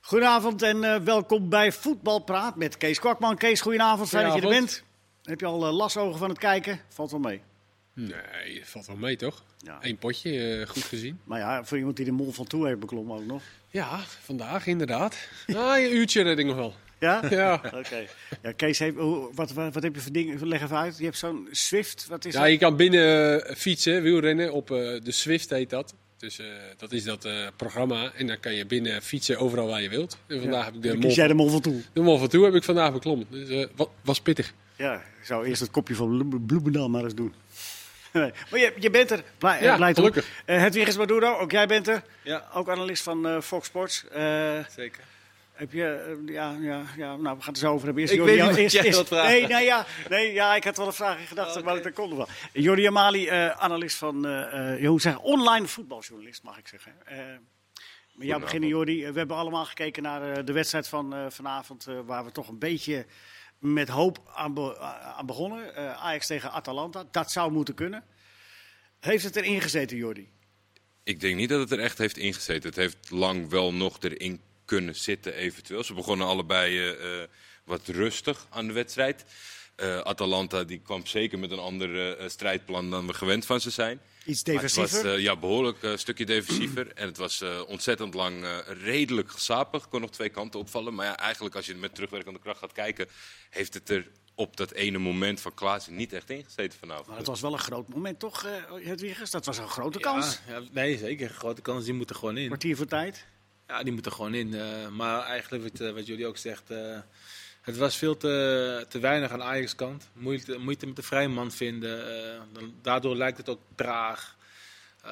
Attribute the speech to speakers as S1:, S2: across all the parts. S1: Goedenavond en eh, welkom bij Voetbalpraat met Kees Kwakman. Kees, goedenavond. Fijn dat je er bent.
S2: Goedenavond.
S1: Heb je al eh, lasogen van het kijken? Valt wel mee.
S2: Nee, dat valt wel mee toch?
S1: Ja.
S2: Eén potje, eh, goed gezien.
S1: Maar ja, voor iemand die de mol van toe heeft beklommen ook nog.
S2: Ja, vandaag inderdaad. Ah, een uurtje red ik nog wel.
S1: Ja?
S2: Ja.
S1: Oké. Ja, Kees, heeft, hoe- wat, wat, wat heb je voor dingen? Leg even uit. Je hebt zo'n Swift. Wat is
S2: ja,
S1: dat?
S2: je kan binnen eh, fietsen, wielrennen, op eh, de Swift heet dat. Dus eh, dat is dat eh, programma. En dan kan je binnen fietsen overal waar je wilt. En vandaag heb ik de
S1: Dan
S2: mol,
S1: kies jij de mol van toe.
S2: de mol van toe heb ik vandaag beklommen. Dus eh, wa- was pittig.
S1: Ja, ik zou eerst het kopje van Bloe- Bloemendaal maar eens doen. Nee, Maar je, je bent er. Blij,
S2: Ja,
S1: eh, blij toch?
S2: gelukkig.
S1: Eh, Hedwig Maduro, ook jij bent er.
S3: Ja,
S1: Ook analist van eh, Fox Sports. Eh,
S3: zeker.
S1: Heb je, eh, ja, ja, ja, nou, we gaan het er zo over hebben. Eerst
S3: Ik
S1: Jordi-
S3: weet niet wat
S1: eerst-
S3: jij
S1: eerst-
S3: wilt vragen. Oh,
S1: Nee, nou ja, nee, ja, ik had wel een vraag in gedachten,
S3: Oké.
S1: maar dat kon nog wel. Jordi Amali, eh, analist van, eh, eh, ja, hoe zeg, je, online voetbaljournalist, mag ik zeggen. Eh, met jou beginnen, Jordi. Eh, We hebben allemaal gekeken naar eh, de wedstrijd van eh, vanavond, eh, waar we toch een beetje met hoop aan, be- aan begonnen. Eh, Ajax tegen Atalanta, dat zou moeten kunnen. Heeft het erin gezeten, Jordi?
S4: Ik denk niet dat het er echt heeft ingezeten. Het heeft lang wel nog erin kunnen zitten, eventueel. Ze begonnen allebei eh, eh, wat rustig aan de wedstrijd. Eh, Atalanta die kwam zeker met een ander eh, strijdplan dan we gewend van ze zijn.
S1: Iets
S4: Maar het
S1: defensiever?
S4: was, eh, ja, behoorlijk eh, stukje defensiever. En het was eh, ontzettend lang eh, redelijk gesapig. Kon nog twee kanten opvallen. Maar ja, eigenlijk als je met terugwerkende kracht gaat kijken... heeft het er op dat ene moment van Klaassen niet echt ingezeten vanavond.
S1: maar het was wel een groot moment, toch, eh Hedwiges? Dat was een grote kans.
S3: Ja, ja, nee, zeker. Grote kans, die moeten gewoon in.
S1: Kwartier voor tijd.
S3: Ja, die moeten gewoon in. eh, maar eigenlijk wat, eh, wat jullie ook zegt, eh, het was veel te, te weinig aan Ajax kant. Moeite, moeite met de vrije man vinden. eh, dan- daardoor lijkt het ook traag. Eh,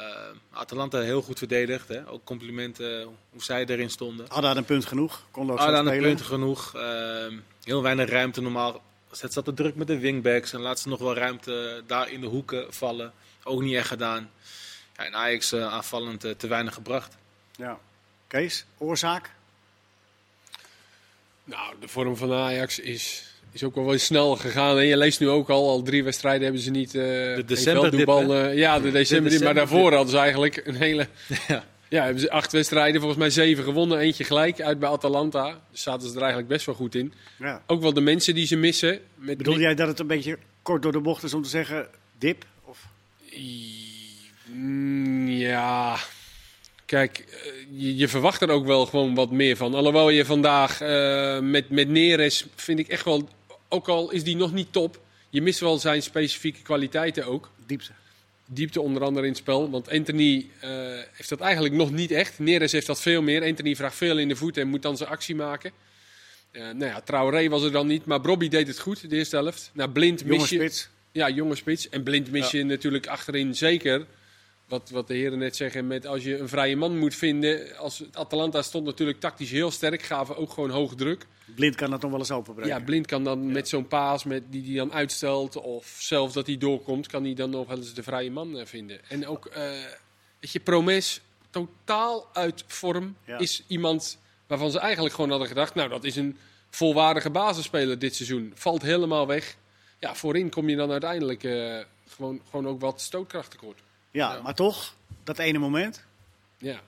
S3: Atalanta heel goed verdedigd. Hè? Ook complimenten eh, hoe zij erin stonden.
S1: Hadden aan een punt genoeg. Kon ook zo
S3: Hadden aan de
S1: spelen.
S3: punten genoeg. eh, heel weinig ruimte normaal. Het zat te druk met de wingbacks en laat ze nog wel ruimte daar in de hoeken vallen. Ook niet echt gedaan. Ja, en Ajax eh, aanvallend eh, te weinig gebracht.
S1: Ja. Kees, oorzaak?
S2: Nou, de vorm van Ajax is, is ook wel wel snel gegaan. En je leest nu ook al, al drie wedstrijden hebben ze niet. eh de
S3: decemberdip,
S2: ja, de december. maar
S3: decemberdip.
S2: daarvoor hadden ze eigenlijk een hele.
S3: Ja.
S2: Ja. hebben ze acht wedstrijden, volgens mij zeven gewonnen, eentje gelijk uit bij Atalanta. Dus zaten ze er eigenlijk best wel goed in.
S1: Ja.
S2: Ook wel de mensen die ze missen. Met
S1: Bedoel jij dat het een beetje kort door de bocht is om te zeggen dip? Of...
S2: Mm, Ja. Kijk, eh, je, je verwacht er ook wel gewoon wat meer van. Alhoewel je vandaag eh, met, met Neres, vind ik echt wel, ook al is die nog niet top, je mist wel zijn specifieke kwaliteiten ook.
S1: Diepte.
S2: Diepte onder andere in het spel. Want Anthony eh, heeft dat eigenlijk nog niet echt. Neres heeft dat veel meer. Anthony vraagt veel in de voeten en moet dan zijn actie maken. Eh nou ja, Traoré was er dan niet, maar Bobby deed het goed de eerste helft. Nou, blind
S1: Jonge
S2: mis je,
S1: spits.
S2: ja, jonge spits. En blind mis je natuurlijk achterin zeker. Wat, wat de heren net zeggen, met als je een vrije man moet vinden. Als, Atalanta stond natuurlijk tactisch heel sterk, gaven ook gewoon hoog druk.
S1: Blind kan dat nog wel eens openbreken.
S2: Ja, Blind kan dan met zo'n paas met, die hij dan uitstelt, of zelfs dat hij doorkomt, kan hij dan nog wel eens de vrije man eh, vinden. En ook, eh weet je, Promes, totaal uit vorm,
S1: Ja.
S2: is iemand waarvan ze eigenlijk gewoon hadden gedacht, nou dat is een volwaardige basisspeler dit seizoen. Valt helemaal weg. Ja, voorin kom je dan uiteindelijk eh, gewoon, gewoon ook wat stootkracht tekort.
S1: Ja, maar toch, dat ene moment.
S2: Ja.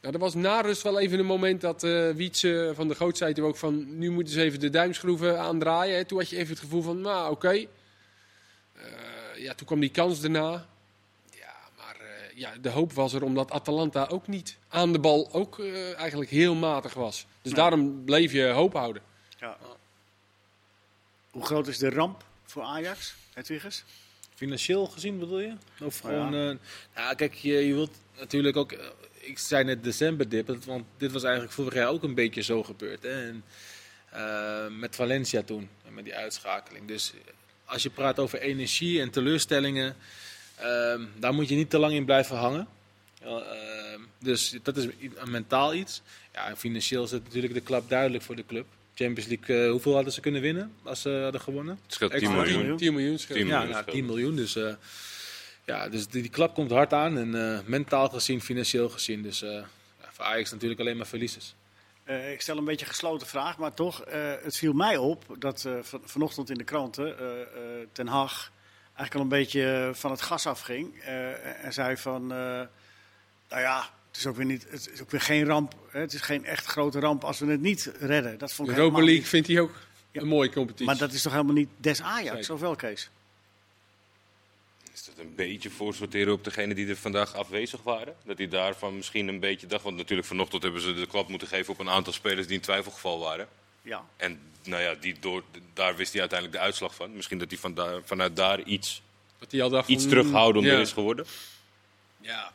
S2: Nou, er was na rust wel even een moment dat eh Wietse van de Goot zei toen ook van... nu moeten ze even de duimschroeven aandraaien. Hè. Toen had je even het gevoel van, nou oké. Eh, ja, toen kwam die kans daarna. Ja, maar eh, ja, de hoop was er omdat Atalanta ook niet aan de bal ook eh, eigenlijk heel matig was. Dus daarom bleef je hoop houden.
S1: Ja. Hoe groot is de ramp voor Ajax, Hedwiges?
S3: Financieel gezien bedoel je? Of
S1: Nou ja.
S3: gewoon. eh, nou, kijk, je, je wilt natuurlijk ook. eh, ik zei net decemberdip, dat- want dit was eigenlijk vorig jaar ook een beetje zo gebeurd. Hè? En, eh, met Valencia toen, en met die uitschakeling. Dus eh, als je praat over energie en teleurstellingen, ehm, daar moet je niet te lang in blijven hangen. Eh, ehm, dus dat is i- een mentaal iets. Ja, en financieel is het natuurlijk de klap duidelijk voor de club. Champions League, eh, hoeveel hadden ze kunnen winnen als ze hadden gewonnen?
S4: Het scheelt 10
S3: Extra
S4: miljoen.
S2: 10 miljoen scheelt.
S4: 10
S3: Ja,
S4: miljoen
S3: nou,
S4: scheelt.
S3: 10 miljoen. Dus, eh, ja, dus die, die klap komt hard aan. En eh, mentaal gezien, financieel gezien. Dus eh, ja, voor Ajax natuurlijk alleen maar verliezers.
S1: Eh, ik stel een beetje een gesloten vraag, maar toch, eh, het viel mij op dat eh, van- vanochtend in de kranten eh, eh, Ten Hag eigenlijk al een beetje eh, van het gas afging. eh, en zei van, eh, nou ja, Het is ook weer, niet, het is ook weer geen ramp. Hè? Het is geen echt grote ramp als we het niet redden. Dat vond ik
S2: Europa
S1: helemaal
S2: League vindt hij ook
S1: Ja.
S2: een mooie competitie.
S1: niet. Maar dat is toch helemaal niet des Ajax,
S2: Zeker.
S1: of wel, Kees?
S4: Is dat een beetje voorsorteren op degenen die er vandaag afwezig waren? Dat die daarvan misschien een beetje dacht. Want natuurlijk vanochtend hebben ze de klap moeten geven op een aantal spelers die in twijfelgeval waren.
S1: Ja.
S4: En nou ja, die door, daar wist hij uiteindelijk de uitslag van. Misschien dat hij vandaar, vanuit daar iets,
S2: dat hij al dacht
S4: iets
S2: van,
S4: terughoudender
S2: Mm, ja.
S4: is geworden.
S2: Ja.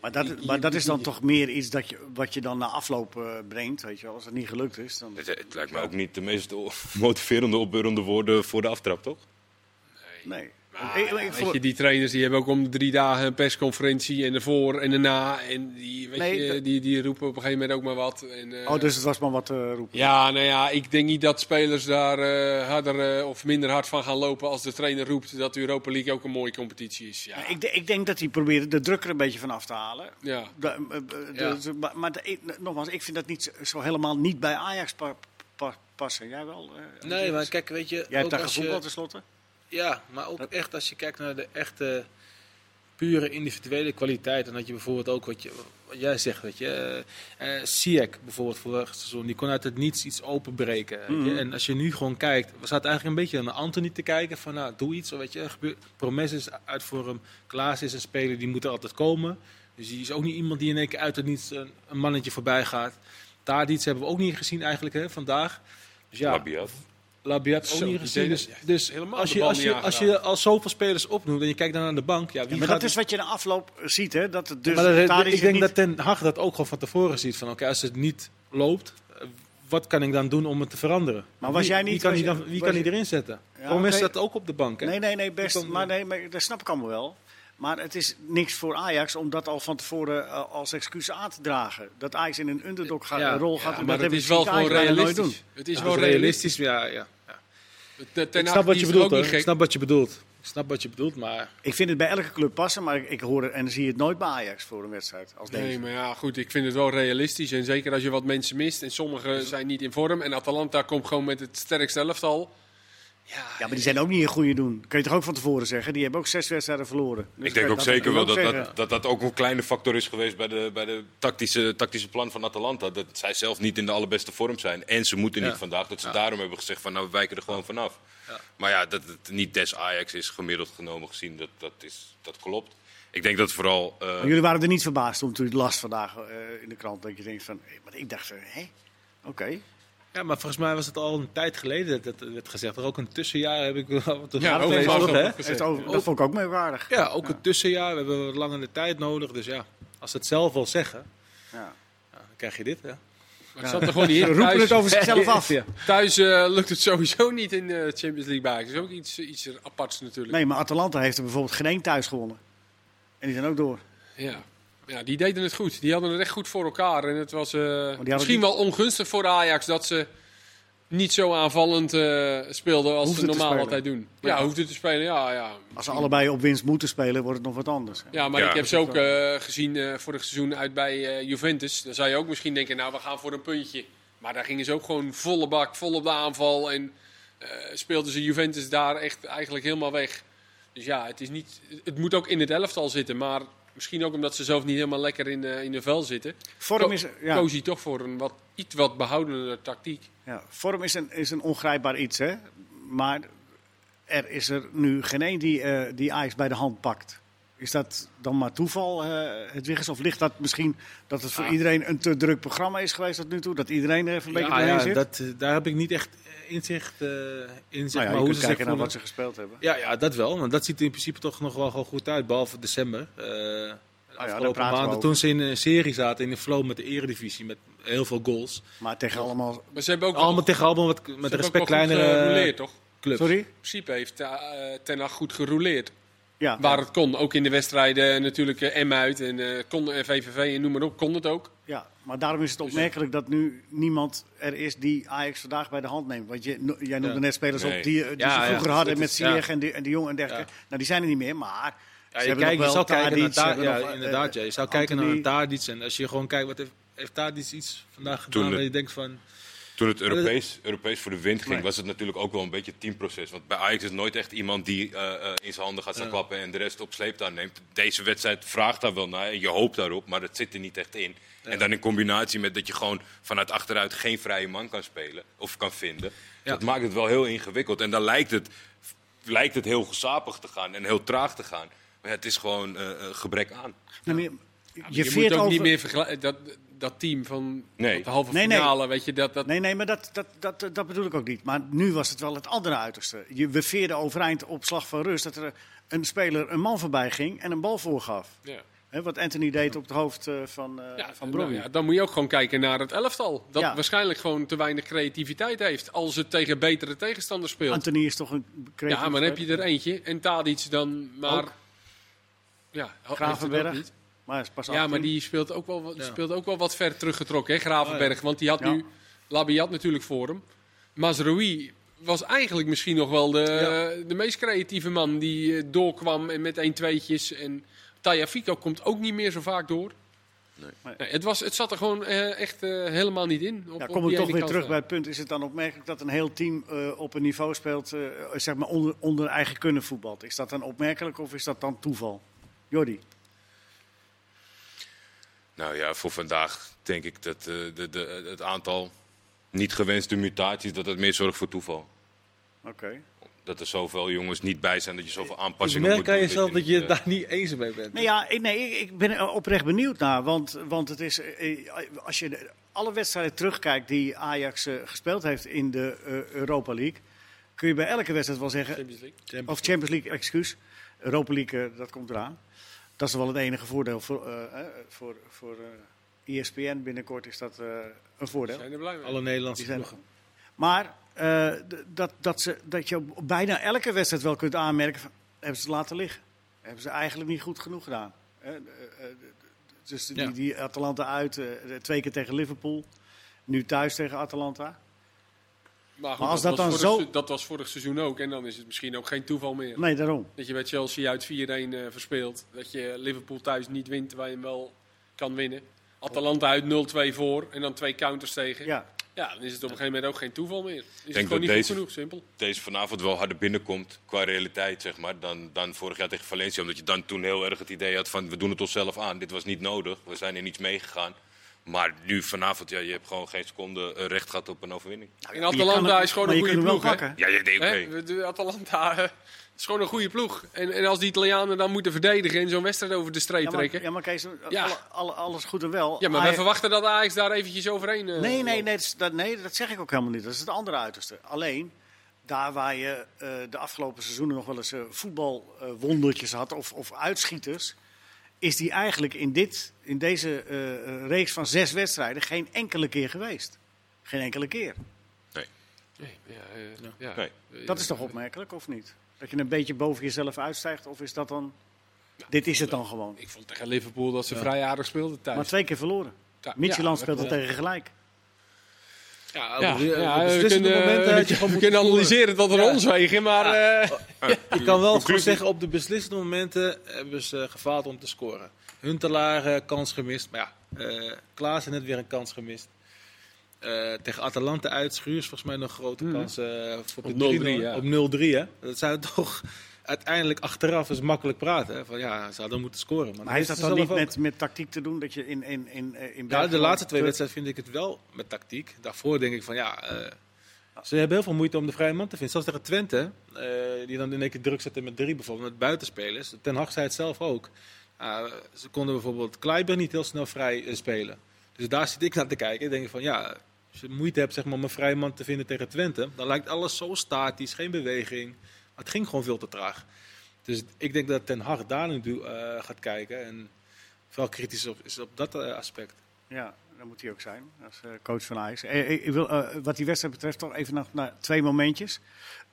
S1: Maar dat, maar dat is dan toch meer iets dat je, wat je dan na afloop eh, brengt, weet je wel. Als het niet gelukt is, dan...
S4: Het, het lijkt me ook niet de meest o- motiverende, opbeurende woorden voor de aftrap, toch?
S1: Nee.
S2: Maar,
S1: Ik- ik- ik
S2: Ah, weet
S1: vond-
S2: je, die trainers die hebben ook om de drie dagen een persconferentie en ervoor en erna. En die, weet
S1: Nee,
S2: je,
S1: dat-
S2: die, die roepen op een gegeven moment ook maar wat. En, eh,
S1: Oh, dus het was maar wat eh roepen.
S2: Ja, nou ja, ik denk niet dat spelers daar eh, harder eh, of minder hard van gaan lopen als de trainer roept dat de Europa League ook een mooie competitie is. Ja,
S1: Ik, de- ik denk dat hij probeerde de druk er een beetje van af te halen.
S2: ja.
S1: Da- eh, eh, de-
S3: Ja.
S1: de- maar maar de- ik- nogmaals, ik vind dat niet zo, zo helemaal niet bij Ajax pa- pa- passen. Jij wel? eh,
S3: Nee,
S1: Andries?
S3: maar kijk, weet je...
S1: Jij hebt
S3: ook
S1: daar
S3: als je-
S1: gevoetbald dus tenslotte?
S3: Ja, maar ook echt als je kijkt naar de echte pure individuele kwaliteit. En dat je bijvoorbeeld ook wat, je, wat jij zegt, weet je. eh, eh, Ziyech bijvoorbeeld vorig seizoen, die kon uit het niets iets openbreken. weet je.
S1: Mhm.
S3: En als je nu gewoon kijkt, we zaten eigenlijk een beetje naar Anthony te kijken. Van nou, doe iets. Weet je, gebeurt, Promes is uit voor hem. Klaas is een speler, die moet er altijd komen. Dus die is ook niet iemand die in één keer uit het niets een, een mannetje voorbij gaat. Tadic hebben we ook niet gezien eigenlijk hè, vandaag. Dus ja,
S4: Labiat.
S3: Labiat ook
S2: Zo,
S3: niet
S2: die
S3: gezien.
S2: deden-
S3: Dus,
S2: ja,
S3: dus
S2: helemaal
S3: als,
S2: de
S3: je,
S2: bal
S3: als,
S2: niet
S3: je, als je
S2: aangeraakt.
S3: al zoveel spelers opnoemt en je kijkt dan naar de bank, ja, wie
S1: Ja, maar
S3: gaat
S1: dat is wat je na afloop ziet, hè? Dat het dus
S3: maar dat-
S1: Tadic
S3: ik
S1: het
S3: denk
S1: niet-
S3: dat Ten Hag dat ook gewoon van tevoren ziet. Van oké, als het niet loopt, eh, wat kan ik dan doen om het te veranderen?
S1: Maar was
S3: Wie-
S1: jij niet-
S3: Wie kan,
S1: was
S3: hij,
S1: je-
S3: dan, wie
S1: was
S3: kan
S1: je-
S3: hij erin zetten?
S1: Ja,
S3: Promes
S1: oké.
S3: staat ook op de bank, hè?
S1: Nee, nee, nee, best.
S3: Die kan-
S1: maar nee, maar dat snap ik allemaal wel. Maar het is niks voor Ajax om dat al van tevoren eh, als excuus aan te dragen. Dat Ajax in een underdog ga-
S3: Ja,
S1: rol
S3: ja,
S1: gaat. en dat
S2: maar het
S1: hebben
S2: is wel
S1: ze
S2: gewoon
S1: Ajax bijna nooit
S2: realistisch. Het is
S3: Ja,
S2: wel
S3: dus
S2: realistisch.
S3: Ja, ja. ja.
S2: De- Ten
S3: Ik
S2: Hag
S3: snap wat
S2: die
S3: je
S2: is
S3: bedoelt,
S2: ook
S3: hoor.
S2: niet
S3: Ik
S2: gek.
S3: snap wat je bedoelt. Ik snap wat je bedoelt, maar...
S1: doen. Ik vind het bij elke club passen, maar ik, ik hoor het en zie het nooit bij Ajax voor een wedstrijd als deze.
S2: Nee, maar ja, goed, ik vind het wel realistisch. En zeker als je wat mensen mist en sommigen zijn niet in vorm. En Atalanta komt gewoon met het sterkste elftal. Ja,
S1: Ja, maar die zijn ook niet in goede doen. Kun je toch ook van tevoren zeggen? Die hebben ook zes wedstrijden verloren. Dus
S4: Ik denk
S1: dat-
S4: ook zeker wel
S1: kun
S4: dat
S1: je ook
S4: dat,
S1: zeggen.
S4: dat dat ook een kleine factor is geweest bij de, bij de tactische, tactische plan van Atalanta. Dat zij zelf niet in de allerbeste vorm zijn. En ze moeten
S3: Ja.
S4: niet vandaag. Dat ze daarom hebben gezegd van nou we wijken er gewoon vanaf.
S3: Ja.
S4: Maar ja, dat het niet des Ajax is gemiddeld genomen gezien. Dat, dat, is, dat klopt. Ik denk dat vooral... eh,
S1: Maar jullie waren er niet verbaasd om toen je het las vandaag eh, in de krant. Dat je denkt van, hé, maar ik dacht, eh, hè? Oké.
S3: Ja, maar volgens mij was het al een tijd geleden dat het werd gezegd. Er ook een tussenjaar heb ik wel wat te
S2: Ja,
S3: gelezen,
S2: ook
S1: heeft
S2: wel
S1: ook
S2: zo
S3: hè?
S2: gezegd.
S1: Heeft over- Dat vond ik ook merkwaardig.
S3: Ja, ook het tussenjaar. We hebben wat langere tijd nodig. Dus ja, als ze het zelf wel zeggen,
S1: Ja.
S3: ja, dan krijg je dit. Hè?
S2: Maar het zat er gewoon niet
S1: Ze
S2: in.
S1: roepen
S2: Thuis,
S1: het over zichzelf af.
S3: Ja.
S2: thuis eh, lukt het sowieso niet in de Champions League bij. Het is ook iets, iets aparts natuurlijk.
S1: Nee, maar Atalanta heeft er bijvoorbeeld geen één thuis gewonnen. En die zijn ook door.
S2: Ja. ja, die deden het goed. Die hadden het echt goed voor elkaar. En het was eh,
S1: hadden
S2: misschien
S1: niet-
S2: wel ongunstig voor Ajax dat ze niet zo aanvallend eh, speelden als
S1: Hoefden
S2: ze
S1: te
S2: normaal
S1: spelen.
S2: altijd doen. Ja, hoefde te spelen. Ja, ja.
S1: Als ze allebei op winst moeten spelen, wordt het nog wat anders. hè.
S2: Ja, maar
S4: Ja.
S2: ik heb ze ook eh, gezien eh, vorig seizoen uit bij eh, Juventus. Dan zou je ook misschien denken, nou, we gaan voor een puntje. Maar daar gingen ze ook gewoon volle bak, vol op de aanval. En eh, speelden ze Juventus daar echt eigenlijk helemaal weg. Dus ja, het, is niet, het moet ook in het elftal zitten. Maar misschien ook omdat ze zelf niet helemaal lekker in, eh, in de vel zitten.
S1: Vorm is, ja,
S2: Koos hij toch voor een wat, iets wat behoudende tactiek.
S1: ja, vorm is, een, is een ongrijpbaar iets, hè. Maar er is er nu geen één die, eh die Ajax bij de hand pakt. Is dat dan maar toeval, eh het is? Of ligt dat misschien dat het voor
S2: Ja.
S1: iedereen een te druk programma is geweest tot nu toe? Dat iedereen er even een beetje
S3: Ja,
S1: doorheen
S3: ja,
S1: zit?
S3: dat, eh, daar heb ik niet echt eh, inzicht eh, in. Zeg
S1: nou ja,
S3: maar
S1: je
S3: hoe
S1: kunt kijken
S3: ze kijken
S1: naar wat ze gespeeld hebben.
S3: Ja, ja, dat wel. Want dat ziet er in principe toch nog wel gewoon goed uit. Behalve december. Eh, de
S1: Oh daar
S3: afgelopen
S1: praten we
S3: maanden.
S1: over.
S3: Toen ze in een serie zaten in de flow met de eredivisie. Met heel veel goals.
S1: Maar tegen allemaal...
S2: Maar ze
S1: Oh.
S2: hebben ook
S3: Allemaal tegen allemaal wat, met respect kleinere
S2: gerouleerd,
S3: eh,
S2: toch?
S3: clubs.
S1: Sorry?
S2: In principe heeft eh, Ten Hag goed gerouleerd.
S1: Ja.
S2: Waar het kon, ook in de wedstrijden eh, natuurlijk eh, M uit en eh, kon, eh, VVV en noem maar op, kon het ook.
S1: Ja, maar daarom is het opmerkelijk dat nu niemand er is die Ajax vandaag bij de hand neemt. Want je, no- jij noemde
S3: Ja.
S1: net spelers
S4: Nee.
S1: op die, eh, die
S3: Ja,
S1: ze
S3: ja,
S1: vroeger
S3: dat
S1: hadden
S3: is-
S1: met Ziyech
S3: ja.
S1: en, de, en de Jong en dergelijke. Nou, die zijn er niet meer, maar ze
S3: Ja, je,
S1: hebben
S3: kijkt,
S1: nog
S3: je
S1: wel
S3: zou kijken naar
S1: Tadic, ze
S3: Tadic,
S1: hebben
S3: ja,
S1: nog, eh,
S3: inderdaad. Ja. Je zou kijken
S1: Anthony.
S3: naar Tadic. En als je gewoon kijkt, wat heeft, heeft Tadic iets vandaag gedaan?
S4: Toen
S3: waar
S4: de-
S3: je denkt van,
S4: Toen het Europees, Europees voor de wind ging,
S1: Nee.
S4: was het natuurlijk ook wel een beetje een teamproces. Want bij Ajax is nooit echt iemand die eh, eh, in zijn handen gaat staan klappen en de rest op sleeptouw neemt. Deze wedstrijd vraagt daar wel naar en je hoopt daarop, maar dat zit er niet echt in. En dan in combinatie met dat je gewoon vanuit achteruit geen vrije man kan spelen of kan vinden. Dat maakt het wel heel ingewikkeld. En dan lijkt het, lijkt het heel gezapig te gaan en heel traag te gaan. Maar ja, het is gewoon eh, eh, gebrek aan.
S1: Nou, maar je-
S2: Je,
S1: je
S2: moet
S1: veert
S2: ook
S1: over...
S2: niet meer vergelijken. Dat, dat team van
S4: Nee.
S2: de halve
S1: Nee, nee.
S2: finale, weet je, dat, dat,
S1: Nee, nee, maar dat, dat, dat, dat bedoel ik ook niet. Maar nu was het wel het andere uiterste. Je, we veerden overeind op slag van rust dat er een speler een man voorbij ging en een bal voorgaf.
S2: ja.
S1: Hè, wat Anthony deed op het hoofd eh, van, eh
S2: Ja,
S1: van
S2: nou
S1: Brobby.
S2: ja, dan moet je ook gewoon kijken naar het elftal. Dat
S1: Ja.
S2: waarschijnlijk gewoon te weinig creativiteit heeft als het tegen betere tegenstanders speelt.
S1: Anthony is toch een creatief
S2: ja, maar dan heb je
S1: speler.
S2: er eentje. En Tadic dan maar...
S1: Ook.
S2: Ja, ho-
S1: Gravenberg.
S2: heeft het ook niet.
S1: Maar hij is pas
S2: Ja, maar
S1: 18.
S2: die speelt ook wel, wat- die
S3: Ja.
S2: speelt ook wel wat ver teruggetrokken, hè, Gravenberg. Want die had
S1: Oh Ja.
S2: nu Labiat natuurlijk voor hem. Mazraoui was eigenlijk misschien nog wel de, de meest creatieve man die eh, doorkwam en met 1-2'tjes. En Tajafico komt ook niet meer zo vaak door.
S1: Nee.
S2: Nee, het, was, het zat er gewoon eh, echt eh, helemaal niet in. Op,
S1: Ja,
S2: op
S1: kom
S2: die
S1: ik toch
S2: ene
S1: weer
S2: kant eh.
S1: terug
S2: na.
S1: bij het punt. Is het dan opmerkelijk dat een heel team eh, op een niveau speelt, eh, zeg maar onder, onder eigen kunnen voetbalt? Is dat dan opmerkelijk of is dat dan toeval? Jordi,
S4: Nou ja, voor vandaag denk ik dat eh, de, de, het aantal niet gewenste mutaties, dat het meer zorgt voor toeval.
S1: oké.
S4: Dat er zoveel jongens niet bij zijn, dat je zoveel aanpassingen
S3: merk
S4: moet
S3: aan
S4: doen,
S3: jezelf dat je
S4: niet, eh,
S3: daar niet eens mee bent.
S1: Nee, ja, ik, nee, ik- ik ben er oprecht benieuwd naar. Want, want het is, eh, als je de- alle wedstrijden terugkijkt die Ajax eh, gespeeld heeft in de eh, Europa League, kun je bij elke wedstrijd wel zeggen,
S2: Champions League.
S1: of Champions League, excuus, Europa League, eh, dat komt eraan. Dat is wel het enige voordeel voor, eh, eh, voor, voor eh ESPN binnenkort is dat eh, een voordeel.
S2: Zijn er blij mee?
S3: Alle Nederlandse
S1: Die zijn-
S3: ploegen.
S1: Maar eh, d- dat, dat, ze, dat je op bijna elke wedstrijd wel kunt aanmerken, van, hebben ze het laten liggen. Hebben ze eigenlijk niet goed genoeg gedaan. Eh, eh, eh, dus die,
S3: Ja.
S1: die Atalanta uit, eh, twee keer tegen Liverpool, nu thuis tegen Atalanta.
S2: Maar, goed,
S1: Maar als
S2: dat,
S1: dat
S2: was
S1: dan
S2: vorig
S1: zo-
S2: se- dat was vorig seizoen ook. En dan is het misschien ook geen toeval meer.
S1: Nee, daarom.
S2: Dat je bij Chelsea uit 4-1 eh, verspeelt. Dat je Liverpool thuis niet wint, waar je hem wel kan winnen. Atalanta uit 0-2 voor en dan twee counters tegen. Ja,
S1: Ja.
S2: dan is het op een gegeven moment ook geen toeval meer. Is het
S4: dat
S2: gewoon niet
S4: deze-
S2: goed genoeg, simpel.
S4: eh, deze vanavond wel harder binnenkomt qua realiteit, zeg maar, dan, dan vorig jaar tegen Valencia. Omdat je dan toen heel erg het idee had van, we doen het onszelf aan. Dit was niet nodig, we zijn er niets meegegaan. Maar nu vanavond, ja, je hebt gewoon geen seconde eh, recht gehad op een overwinning.
S2: En
S1: Je kan
S2: Atalanta
S1: hem-
S2: is gewoon
S1: maar
S2: een
S1: je
S2: goede
S1: kunt hem wel
S2: ploeg. hè?
S1: pakken.
S4: Ja, je deed oké.
S2: Hè? We- de Atalanta eh, is gewoon een goede ploeg. En, en als die Italianen dan moeten verdedigen en zo'n wedstrijd over de streep
S1: Ja, maar,
S2: trekken.
S1: ja, maar Kees,
S2: Ja.
S1: alle- alle- alles goed en wel.
S2: Ja, maar wij
S1: Ajax-
S2: verwachten dat Ajax daar eventjes overheen... eh,
S1: Nee, nee,
S2: loopt.
S1: nee, dat, is- dat, nee, dat zeg ik ook helemaal niet. Dat is het andere uiterste. Alleen, daar waar je eh, de afgelopen seizoenen nog wel eens eh, voetbalwondertjes had of, of uitschieters, is die eigenlijk in, dit, in deze eh, reeks van zes wedstrijden geen enkele keer geweest. Geen enkele keer.
S2: Nee, ja, eh, ja.
S4: Nee.
S1: Dat is toch opmerkelijk, of niet? Dat je een beetje boven jezelf uitstijgt, of is dat dan... Dit is het dan gewoon.
S2: Ik vond tegen Liverpool dat ze vrij aardig speelden thuis.
S1: Maar twee keer verloren.
S2: Ja,
S1: Midtjylland speelt er
S2: dat-
S1: tegen gelijk.
S3: Ja,
S2: Ja,
S3: op eh, de- op
S2: ja,
S3: de
S2: we
S3: beslissende
S2: kunnen, eh,
S3: momenten had je gewoon
S2: we
S3: moeten
S2: kunnen
S3: scoren.
S2: analyseren dat er
S3: Ja.
S2: ons wegen, maar... eh,
S3: Ik kan wel gewoon
S4: Conclusie.
S3: zeggen, op de beslissende momenten hebben ze eh, gefaald om te scoren. Huntelaar eh, kans gemist, maar ja, eh Klaassen net weer een kans gemist. Eh, tegen Atalanta uit, Schuurs volgens mij nog grote
S1: Hmm.
S3: kans eh, voor de
S2: Op 0-3,
S3: 3-0.
S2: ja.
S3: Op 0-3, hè. Dat zou toch uiteindelijk achteraf eens makkelijk praten. Hè? Van ja, ze hadden moeten scoren. Maar,
S1: Maar heeft dat
S3: wisten
S1: dan
S3: ze
S1: niet
S3: zelf ook.
S1: met, met tactiek te doen? Dat je in, in, in, eh, in
S3: Ja, de
S1: Bergamo-
S3: laatste twee wedstrijden vind ik het wel met tactiek. Daarvoor denk ik van ja, eh, ze hebben heel veel moeite om de vrije man te vinden. Zelfs tegen Twente, eh, die dan in één keer druk zetten met drie bijvoorbeeld, met buitenspelers. Ten Hag zei het zelf ook. Ah, ze konden bijvoorbeeld Kleiber niet heel snel vrij eh, spelen. Dus daar zit ik naar te kijken. Ik denk van ja, als je moeite hebt zeg maar, om een vrije man te vinden tegen Twente, dan lijkt alles zo statisch, geen beweging. Maar het ging gewoon veel te traag. Dus ik denk dat Ten Hag daar nu eh, gaat kijken en vooral kritisch op, is op dat eh, aspect.
S1: Ja, dat moet hij ook zijn als eh, coach van Ajax. Eh, ik ik wil eh, wat die wedstrijd betreft toch even nog naar twee momentjes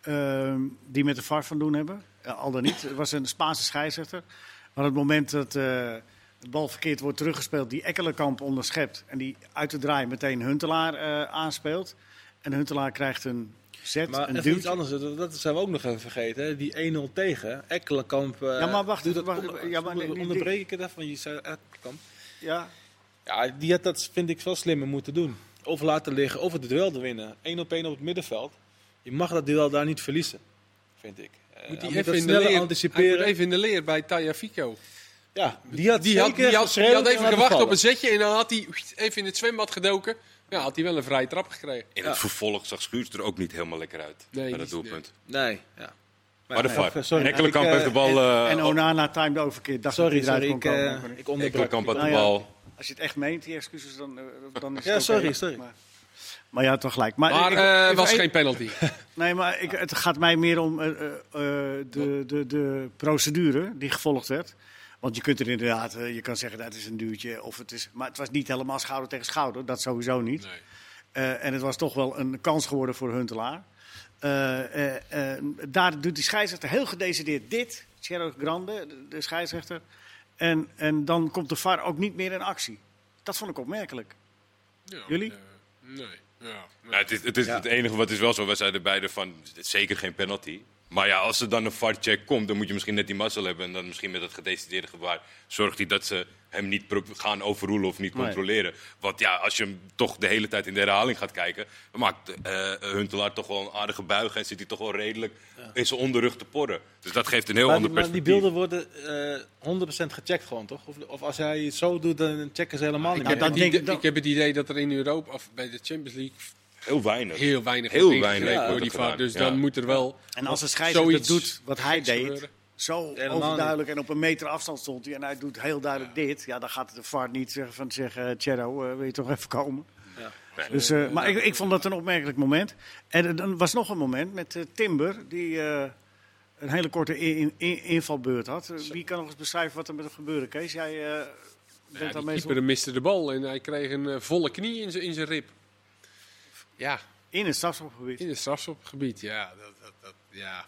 S1: ehm, die met de VAR van doen hebben. Eh, al dan niet. Het was een Spaanse scheidsrechter. Maar het moment dat eh de bal verkeerd wordt teruggespeeld, die Ekkelenkamp onderschept en die uit de draai meteen Huntelaar eh, aanspeelt. En Huntelaar krijgt een zet,
S3: Maar
S1: een
S3: even iets
S1: duwtje.
S3: anders, dat, dat zijn we ook nog even vergeten. hè. Die 1-0 tegen, Ekkelenkamp. eh,
S1: Ja, maar wacht,
S3: doet dat
S1: wacht,
S3: onder-
S1: ja, maar die- die-
S3: onderbreek ik het even, want je zei Ekkelenkamp.
S1: Ja,
S3: Ja, die had dat, vind ik, wel slimmer moeten doen. Of laten liggen, of het duel te winnen. Eén op één op het middenveld. Je mag dat duel daar niet verliezen, vind ik. Eh,
S2: Moet hij
S3: hij
S2: even
S3: dat
S2: in de
S3: sneller
S2: leer,
S3: anticiperen.
S2: hij moet even in de leer bij Taya Fico.
S3: ja, die had,
S2: Die had,
S3: zeker
S2: die had, die
S3: geschreeuwd
S2: had
S3: en
S2: even
S3: laten
S2: gewacht op
S3: vallen.
S2: een zetje en dan had hij even in het zwembad gedoken. Ja, had hij wel een vrije trap gekregen.
S4: In het vervolg zag Schuurs er ook niet helemaal lekker uit.
S2: Nee, niet,
S4: bij dat doelpunt.
S3: Nee, ja.
S4: Maar de
S3: nee,
S4: VAR.
S3: sorry,
S4: En Ekkelenkamp
S3: ik, eh,
S4: heeft de bal... eh,
S1: en
S4: op-
S1: Onana timed ook verkeerd. Dacht
S3: Sorry,
S1: dat hij
S3: sorry,
S1: eruit
S3: ik,
S1: kon komen,
S3: eh,
S1: maar
S3: ik onderbrak
S4: Ekkelenkamp
S3: je.
S4: had de
S1: Nou ja.
S4: bal...
S1: Als je het echt meent, die excuses, dan, eh, dan is het
S3: Ja,
S1: oké.
S3: sorry, sorry.
S1: Maar, maar ja, toch gelijk. Maar,
S2: Maar
S1: ik-
S2: eh,
S1: even
S2: was
S1: één-
S2: geen penalty.
S1: Nee, maar ik, het gaat mij meer om eh, eh, eh, de, de, de procedure die gevolgd werd. Want je kunt er inderdaad, eh, je kan zeggen dat is een duwtje. Of het is, maar het was niet helemaal schouder tegen schouder, dat sowieso niet.
S2: Nee.
S1: Eh, en het was toch wel een kans geworden voor Huntelaar. Eh, eh, eh, daar doet die scheidsrechter heel gedecideerd dit, Gerard Grande, de, de scheidsrechter. En, en dan komt de VAR ook niet meer in actie. Dat vond ik opmerkelijk. Jullie?
S2: nee. Ja,
S4: Nou, het is, het, is het enige wat is wel zo. We zeiden beide van het is zeker geen penalty. Maar ja, als er dan een VAR-check komt, dan moet je misschien net die mazzel hebben. En dan misschien met dat gedecideerde gebaar zorgt hij dat ze hem niet pro- gaan overroelen of niet
S1: Nee.
S4: controleren. Want ja, als je hem toch de hele tijd in de herhaling gaat kijken, dan maakt eh, Huntelaar toch wel een aardige buiging en zit hij toch wel redelijk in zijn onderrug te porren. Dus dat geeft een heel
S3: Maar, die-
S4: ander
S3: maar die
S4: perspectief.
S3: beelden worden eh 100% gecheckt gewoon, toch? Of, of als hij het zo doet, dan checken ze helemaal niet
S1: Ja,
S3: meer.
S1: dat
S2: ik,
S1: denk ik
S2: denk,
S1: dan-
S2: ik heb het idee dat er in Europa, of bij de Champions League,
S4: Heel weinig.
S2: heel weinig
S4: Heel
S2: wordt
S4: weinig
S2: ingegrepen door
S4: wordt
S2: die
S4: er
S2: VAR.
S4: gedaan,
S2: Dus
S4: ja.
S2: dan moet er wel...
S1: En als de scheidsrechter
S2: zoiets
S1: doet wat hij
S2: geks
S1: deed,
S2: gebeuren.
S1: zo
S3: Helemaal
S1: overduidelijk en op een meter afstand stond hij en hij doet heel duidelijk dit. Ja, dan gaat de VAR niet zeggen van zeggen, eh, Cerro, eh, wil je toch even komen?
S3: Ja.
S1: Dus, eh, maar ik, ik vond dat een opmerkelijk moment. En er dan was nog een moment met eh, Timber, die eh, een hele korte in- in- in- invalbeurt had. Eh, Wie kan nog eens beschrijven wat er met hem gebeurde, Kees? Jij eh, bent
S2: Ja,
S1: daar
S2: die
S1: meestal
S2: keeper miste de bal en hij kreeg een eh, volle knie in zijn- in zijn rib. Ja,
S1: in het strafschopgebied.
S2: in het strafschopgebied, ja. Dat, dat, dat, ja.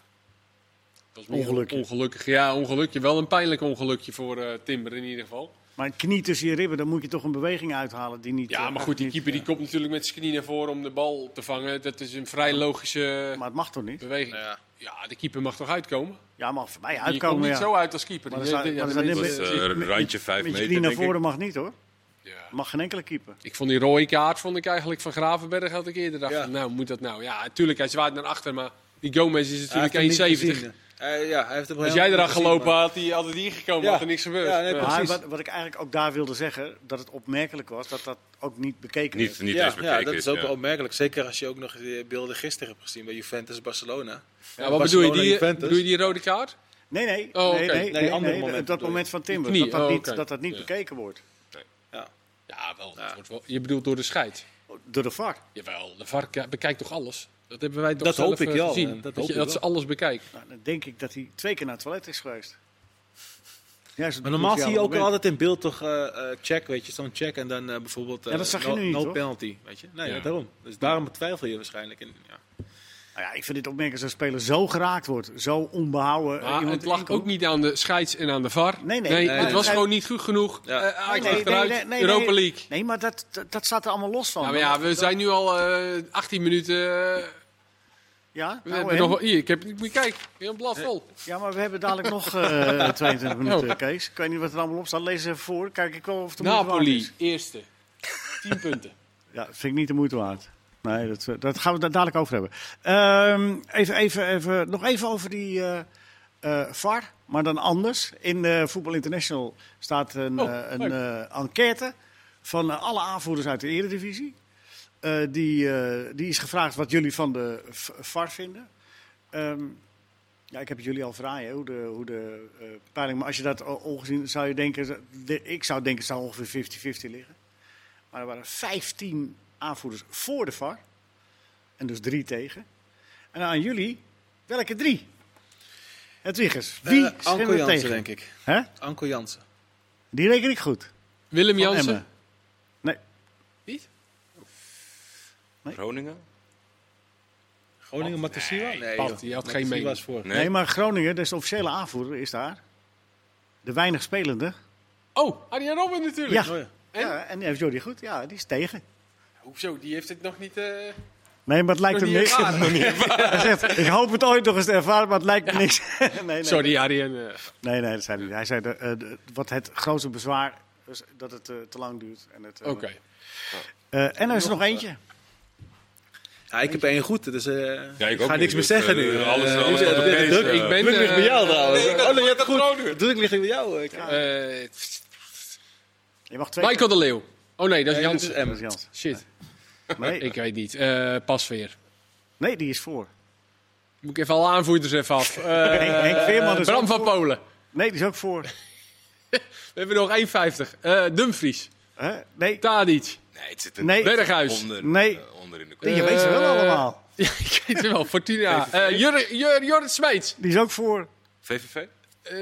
S2: Dat was
S1: Ongelukje.
S2: Ongelukkig, ja, ongelukje. Wel een pijnlijk ongelukje voor eh, Timber in ieder geval.
S1: Maar een knie tussen je ribben, dan moet je toch een beweging uithalen die niet...
S2: Ja,
S1: eh,
S2: maar goed, die
S1: niet-
S2: keeper die komt natuurlijk met zijn knie naar voren om de bal te vangen. Dat is een vrij logische
S1: Maar het mag toch niet?
S2: beweging.
S3: Ja.
S2: Ja, de keeper mag toch uitkomen?
S1: Ja, mag voor mij
S2: je komt
S1: uitkomen,
S2: niet
S1: ja.
S2: zo uit als keeper.
S1: Maar
S2: Die-
S1: er staat-
S2: die-
S1: maar er
S2: die-
S1: staat
S4: Dat
S2: die-
S4: is
S1: net-
S4: eh,
S1: met-
S4: een
S1: met-
S4: randje vijf
S1: Met je
S4: meter,
S1: knie naar
S4: denk ik.
S1: voren mag niet hoor.
S2: ja.
S1: Mag geen enkele keeper.
S2: Ik vond die rode kaart vond ik eigenlijk van Gravenberg had ik eerder dacht,
S3: Ja.
S2: van, nou moet dat nou? Ja, natuurlijk hij zwaait naar achter, maar die Gomez is
S3: Hij heeft hem niet
S2: natuurlijk 1,70.
S3: gezien. Eh, ja, hij heeft hem
S2: Als
S3: helemaal
S2: jij
S3: niet
S2: eraan
S3: gezien,
S2: gelopen
S3: maar-
S2: had, die, had het hier gekomen,
S3: Ja.
S2: had er niks gebeurd.
S3: Ja, nee,
S2: Ja.
S3: precies.
S1: Maar wat, wat ik eigenlijk ook daar wilde zeggen, dat het opmerkelijk was dat dat ook niet bekeken
S4: Niet,
S1: werd.
S4: niet
S3: ja,
S4: eens bekeken
S3: ja, dat is ook
S4: ja.
S3: wel opmerkelijk. Zeker als je ook nog die beelden gisteren hebt gezien bij Juventus Barcelona.
S2: Ja, wat bedoel je,
S3: Barcelona,
S2: die,
S3: Juventus.
S2: bedoel je die rode kaart?
S1: Nee, nee,
S2: Oh, oké.
S1: nee, nee,
S3: die
S1: nee,
S3: andere
S1: nee,
S3: momenten
S1: op dat
S3: bedoel
S1: moment van Timber,
S2: Die
S1: dat dat,
S2: knie,
S1: niet,
S2: oh, oké.
S1: dat dat niet
S2: Ja.
S1: bekeken wordt
S3: Ja.
S2: Ja, wel. dat
S3: Ja.
S2: wordt wel- Je bedoelt door de scheid.
S1: door de VAR.
S2: Jawel, de VAR ke- bekijkt toch alles? Dat hebben wij toch
S3: Dat
S2: zelf
S3: hoop ik
S2: eh,
S3: wel,
S2: gezien.
S3: ja, dat
S2: Dat,
S3: hoop
S2: je,
S3: ik
S2: dat
S3: wel.
S2: ze alles bekijkt.
S1: Nou, dan denk ik dat hij twee keer naar het toilet is geweest. Juist op
S3: Maar
S1: het
S3: normaal zie je
S1: cruciale
S3: ook
S1: moment.
S3: altijd in beeld toch eh, eh, check, weet je, zo'n check en dan eh, bijvoorbeeld eh,
S1: Ja, dat zag je
S3: no,
S1: nu niet,
S3: no
S1: toch?
S3: penalty, weet je. Nee,
S2: Ja.
S3: ja, daarom. Dus daarom betwijfel je waarschijnlijk. En, ja.
S1: Nou ja, ik vind dit opmerkelijk dat een speler zo geraakt wordt, zo onbehouden.
S2: Maar
S1: Iemand
S2: het lag
S1: inkomt.
S2: ook niet aan de scheids en aan de VAR.
S1: Nee, nee.
S2: het
S1: Nee,
S2: was
S1: nee.
S2: gewoon niet goed genoeg. Eh
S3: Ja.
S2: Ajax
S1: Nee, nee,
S2: achteruit,
S1: nee, nee, nee,
S2: Europa
S1: nee.
S2: League.
S1: Nee, maar dat, dat, dat staat er allemaal los van.
S2: Ja, maar ja, we zijn nu al eh, 18 minuten. eh,
S1: Ja?
S2: we
S1: Nou,
S2: hebben
S1: en?
S2: nog wel- hier, ik heb, ik moet kijken, heel een blad vol.
S1: Ja, maar we hebben dadelijk nog eh 22 minuten, Kees. Ik weet niet wat er allemaal op staat. Lees even voor. Kijk ik wel of het de moeite waard
S2: Napoli,
S1: is.
S2: eerste. 10 punten.
S1: Ja, vind ik niet de moeite waard. Nee, dat, eh, dat gaan we daar dadelijk over hebben. Ehm, even, even, even, nog even over die eh, eh, VAR, maar dan anders. In eh Voetbal International staat een,
S2: Oh,
S1: eh, een
S2: leuk.
S1: eh, enquête van eh, alle aanvoerders uit de Eredivisie. Eh, die, eh, die is gevraagd wat jullie van de v- VAR vinden. Ehm, ja, ik heb het jullie al vragen, hoe de, hoe de eh, peiling... Maar als je dat o- ongezien zou je denken... de- ik zou denken, het zou ongeveer 50-50 liggen. Maar er waren 15 aanvoerders voor de VAR. En dus drie tegen. En aan jullie, welke drie? Het Wiegers, wie
S3: Eh, Anko
S1: stemmen er
S3: Jansen,
S1: tegen?
S3: denk ik.
S1: Hè?
S3: Anko Jansen.
S1: Die reken ik goed.
S2: Willem
S1: Van
S2: Jansen.
S1: Emmen. Nee,
S2: Niet?
S4: Groningen?
S3: Groningen, Matasiwa? Nee,
S2: Pat,
S3: joh.
S2: die had geen
S3: Matasiwa
S2: mening.
S3: is voor.
S1: nee. maar Groningen, dat is de officiële aanvoerder, is daar. De weinig spelende.
S2: Oh, Arjen Robben natuurlijk.
S1: Ja.
S3: Oh, ja.
S2: En?
S1: Ja, en die heeft Jordi goed. Ja, die is tegen.
S2: Hoezo, die heeft het nog niet... eh,
S1: Nee, maar het lijkt
S2: nog
S1: hem
S2: niet
S1: niks.
S2: ervaren.
S1: Hij zegt, ik hoop het ooit nog eens te ervaren, maar het lijkt me niks. nee, nee,
S2: Sorry, Arjen. eh,
S1: Nee, nee, dat zei hij niet. Hij zei de, eh, de- wat het grootste bezwaar Dus dat het eh, te lang duurt. En, het, eh,
S2: Oké.
S1: eh, en er is nog eentje.
S3: Ja, ik heb één goed, dus eh,
S4: Ja,
S3: ik,
S4: ik
S3: ga
S4: ook
S3: niks meer
S4: niet,
S3: zeggen
S4: dus,
S3: nu.
S4: eh, alles-
S3: Eh,
S4: alles
S3: eh,
S4: wat
S3: de
S4: opeens,
S3: druk-
S4: eh,
S2: Ik ben,
S3: druk ligt bij
S2: eh,
S3: jou trouwens.
S4: Nee, ik dacht,
S3: oh, nee, je hebt
S4: dat
S3: goed.
S4: gewoon weer.
S3: De druk ligt bij jou. eh, Kraan.
S2: Eh,
S1: Je mag twee.
S2: Michael de Leeuw. Oh nee, dat is
S3: Nee,
S2: Jans.
S3: dit is
S1: keer-
S3: Em.
S1: Dat is Jans.
S2: Shit,
S1: Nee,
S2: ik weet niet. Eh pas weer.
S1: nee, die is voor.
S2: Moet ik even alle aanvoerders even af. Eh,
S1: Henk- Henk Veerman is
S2: Bram
S1: ook
S2: van
S1: voor.
S2: Polen.
S1: Nee, die is ook voor.
S2: We hebben nog 1,50. Eh Dumfries.
S1: Hè? Nee,
S2: Tadic.
S4: Nee, het zit er
S1: Nee.
S2: Berghuis.
S4: onder,
S1: Nee.
S4: eh, onder in de kop.
S1: die weet ze wel
S2: Eh,
S1: allemaal.
S2: Ja, ik weet het wel. Fortuna. Eh Jur- Jur- Jorrit Smeets.
S1: Die is ook voor.
S4: VVV?
S2: Eh,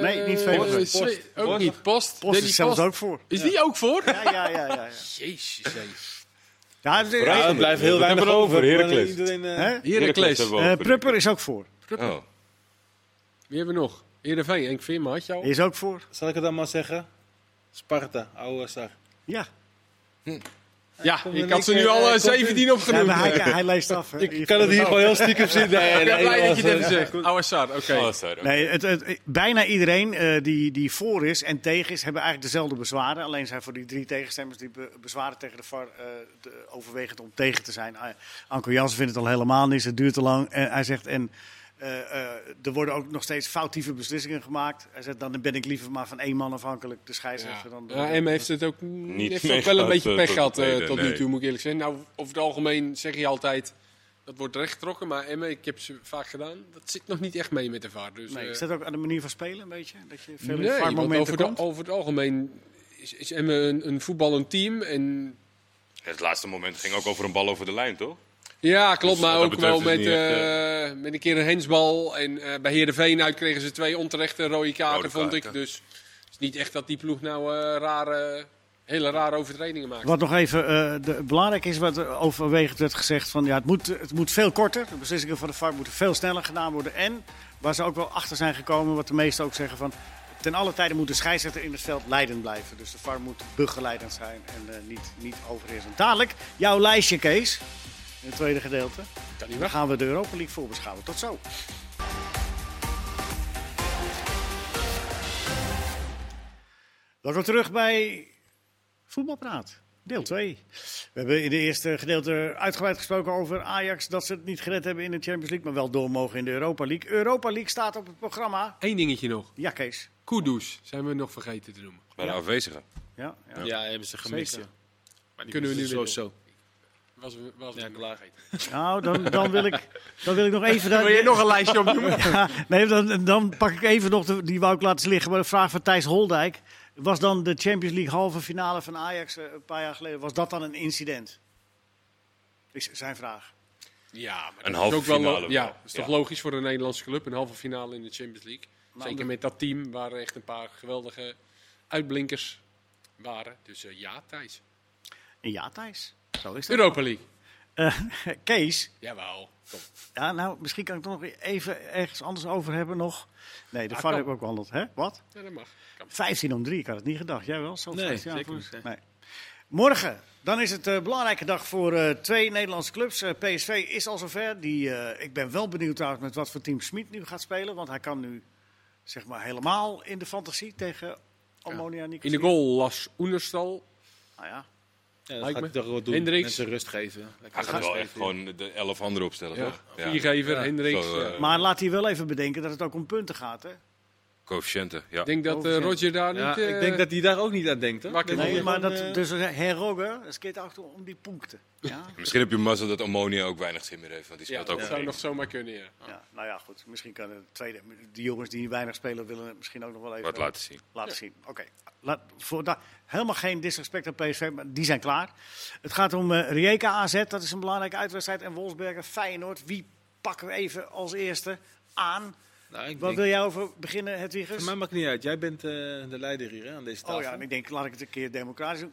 S1: Nee, niet Veerman.
S2: eh, Sme-
S3: Post.
S2: Ook
S4: Post.
S2: niet. Post.
S1: Post
S2: Danny
S1: is zelfs
S2: Post.
S1: ook voor.
S2: Is die ook voor?
S1: Ja, ja, ja. ja, ja.
S2: Jezus. hé.
S1: ja de-
S4: Vooruit.
S3: Ja, er blijft heel
S4: Wat
S3: weinig
S4: hebben we
S3: over.
S4: over, Heracles?
S3: Iedereen, eh,
S1: hè?
S2: Heracles.
S4: hebben we
S1: Eh,
S4: ook.
S1: Prupper is ook voor.
S4: Oh.
S2: Wie hebben we nog? Heerenveen. Henk Veerman had je al.
S1: Die is ook voor.
S3: Zal ik het dan maar zeggen? Sparta, oude Sar.
S1: Ja.
S2: Ja,
S3: Kom
S2: ik
S3: in
S2: had ze
S3: één
S2: nu
S3: keer,
S2: al eh,
S3: eh, komt
S2: 17
S1: Ja,
S2: opgenoemd.
S1: maar hij, hij leest af. Hè?
S3: Ik kan het hier gewoon heel stiekem zien. Nee,
S2: Ik ben
S3: nee,
S2: blij dat
S3: jongens,
S2: je het even
S3: eh,
S2: zegt. Ouassar, oké.
S4: Oh, sorry.
S1: Nee, het, het- bijna iedereen eh, die, die voor is en tegen is, hebben eigenlijk dezelfde bezwaren. Alleen zijn voor die drie tegenstemmers die be- bezwaren tegen de VAR eh, de- overwegend om tegen te zijn. Ah, Anko Jansen vindt het al helemaal niks, het duurt te lang. En hij zegt, en eh, eh, er worden ook nog steeds foutieve beslissingen gemaakt. Hij zegt, dan ben ik liever maar van één man afhankelijk, de scheidsrechter.
S2: Ja.
S1: Dan
S2: Ja,
S4: eh,
S2: Emma heeft het ook, niet heeft ook
S4: meegehad,
S2: wel een beetje
S4: eh,
S2: pech
S4: tot
S2: gehad eh,
S4: tweede,
S2: tot nu
S4: nee.
S2: toe, moet ik eerlijk zeggen. Nou, over het algemeen zeg je altijd, dat wordt recht getrokken. Maar Emma, ik heb ze vaak gedaan, dat zit nog niet echt mee met de vaart. Dus,
S1: nee,
S2: eh,
S1: is dat ook aan de manier van spelen een beetje? Dat je veel
S2: nee,
S1: in
S2: want
S1: momenten
S2: over, de-
S1: komt?
S2: over het algemeen is, is Emma een, een voetballend team. En,
S4: Het laatste moment ging ook over een bal over de lijn, toch?
S2: ja, klopt,
S4: Dus wat
S2: maar
S4: dat
S2: ook
S4: betreft
S2: wel
S4: is
S2: met,
S4: het niet echt,
S2: eh, met een keer een hensbal. En eh bij Heerenveen uit kregen ze twee onterechte rode kaarten,
S4: Rode
S2: vond ik.
S4: kaarten.
S2: Dus het is niet echt dat die ploeg nou eh, rare, hele rare overtredingen maakt.
S1: Wat nog even eh, de, belangrijk is, wat er overwegend werd gezegd: van, ja, het, moet, het moet veel korter. De beslissingen van de VAR moeten veel sneller gedaan worden. En waar ze ook wel achter zijn gekomen, wat de meesten ook zeggen: van ten alle tijde moet de scheidsrechter in het veld leidend blijven. Dus de VAR moet begeleidend zijn en eh, niet, niet overheersend. Dadelijk jouw lijstje, Kees, in het tweede gedeelte.
S2: Kan niet
S1: Dan
S2: weg.
S1: gaan we de Europa League voorbeschouwen. Tot zo. Welkom terug bij Voetbalpraat, deel 2. We hebben in de eerste gedeelte uitgebreid gesproken over Ajax. Dat ze het niet gered hebben in de Champions League, maar wel door mogen in de Europa League. Europa League staat op het programma.
S2: Eén dingetje nog.
S1: Ja, Kees.
S2: Kudus zijn we nog vergeten te noemen.
S4: Bij de
S1: Ja.
S4: afwezigen.
S1: Ja, ja.
S3: Ja, hebben ze gemist.
S1: Zeker.
S3: ja. Maar die
S2: Kunnen we
S3: moeten
S2: nu weer
S3: sowieso.
S2: Was, was
S3: Ja, klaar.
S1: Nou, dan, dan, wil ik, dan wil ik nog even...
S2: Wil jij nog een lijstje opnoemen?
S1: Ja, nee, dan, dan pak ik even nog, de, die wou ik laten liggen, maar de vraag van Thijs Holdijk. Was dan de Champions League halve finale van Ajax eh, een paar jaar geleden, was dat dan een incident? Is zijn vraag.
S2: ja, maar
S4: Een
S2: dat
S4: halve
S2: is ook wel,
S4: finale wel.
S2: Ja, dat is
S4: Ja.
S2: toch logisch voor een Nederlandse club, een halve finale in de Champions League. Zeker
S1: de-
S2: met dat team waar echt een paar geweldige uitblinkers waren. Dus eh, ja, Thijs.
S1: En ja, Thijs. Zo is dat.
S2: Europa League.
S1: Eh, Kees,
S2: Jawel. Kom.
S1: ja, nou, misschien kan ik het nog even ergens anders over hebben nog. Nee, de
S2: Ah,
S1: VAR
S2: kan.
S1: heb ik ook behandeld. Hè? Wat?
S2: Ja, dat mag. Kan.
S1: 15 om 3, ik had het niet gedacht. Jij wel? Zo
S3: Nee,
S1: 15 jaar
S3: zeker
S1: voor-
S3: niet,
S1: Nee. Morgen, dan is het een belangrijke dag voor eh, twee Nederlandse clubs. Eh, PSV is al zover. Die, eh, ik ben wel benieuwd trouwens met wat voor team Smit nu gaat spelen. Want hij kan nu zeg maar, helemaal in de fantasie tegen Ammonia
S2: In
S1: Nicosia.
S2: de goal las Oenerstal.
S1: Nou ja.
S3: Ja, dat
S2: Lijkt
S3: gaat
S2: me.
S3: hij toch wel doen.
S2: Hendricks.
S3: Mensen rust geven.
S4: Hij
S3: Lekker
S4: gaat
S3: rust
S4: wel
S3: geven,
S4: echt gewoon de elf anderen opstellen,
S2: Ja.
S4: toch?
S2: Viergever,
S3: Ja.
S2: Hendricks.
S4: Zo, eh,
S2: ja.
S1: Maar laat hij wel even bedenken dat het ook om punten gaat. Hè?
S4: Coëfficiënten, ja.
S2: Ik denk dat eh,
S1: Overigens.
S2: Roger daar
S3: Ja,
S2: niet... eh,
S3: ik denk dat hij daar ook niet aan denkt, hoor.
S2: wakker
S3: Dat
S2: van
S1: Nee,
S3: hij
S1: maar
S3: gewoon,
S1: dat,
S3: eh,
S1: dus herroggen, het gaat achter om die punten. Ja?
S4: Misschien heb je mazzel dat Ammonia ook weinig zin meer heeft, want die
S2: Ja,
S4: speelt ook
S2: dat zou
S4: weer
S2: nog zomaar kunnen, ja.
S1: Ja, nou ja, goed. Misschien kan de tweede. Die jongens die weinig spelen willen het misschien ook nog wel even
S4: wat laten zien.
S1: laten zien. Oké, Laat- voor da- helemaal geen disrespect aan PSV, maar die zijn klaar. Het gaat om eh Rijeka AZ, dat is een belangrijke uitwedstrijd. En Wolfsberger Feyenoord, wie pakken we even als eerste aan?
S3: Nou, ik
S1: Wat
S3: denk-
S1: wil jij over beginnen, Hedwigus?
S3: Voor mij maakt het niet uit. Jij bent eh, de leider hier hè, aan deze tafel.
S1: Oh ja, en ik denk, laat ik het een keer democratisch doen.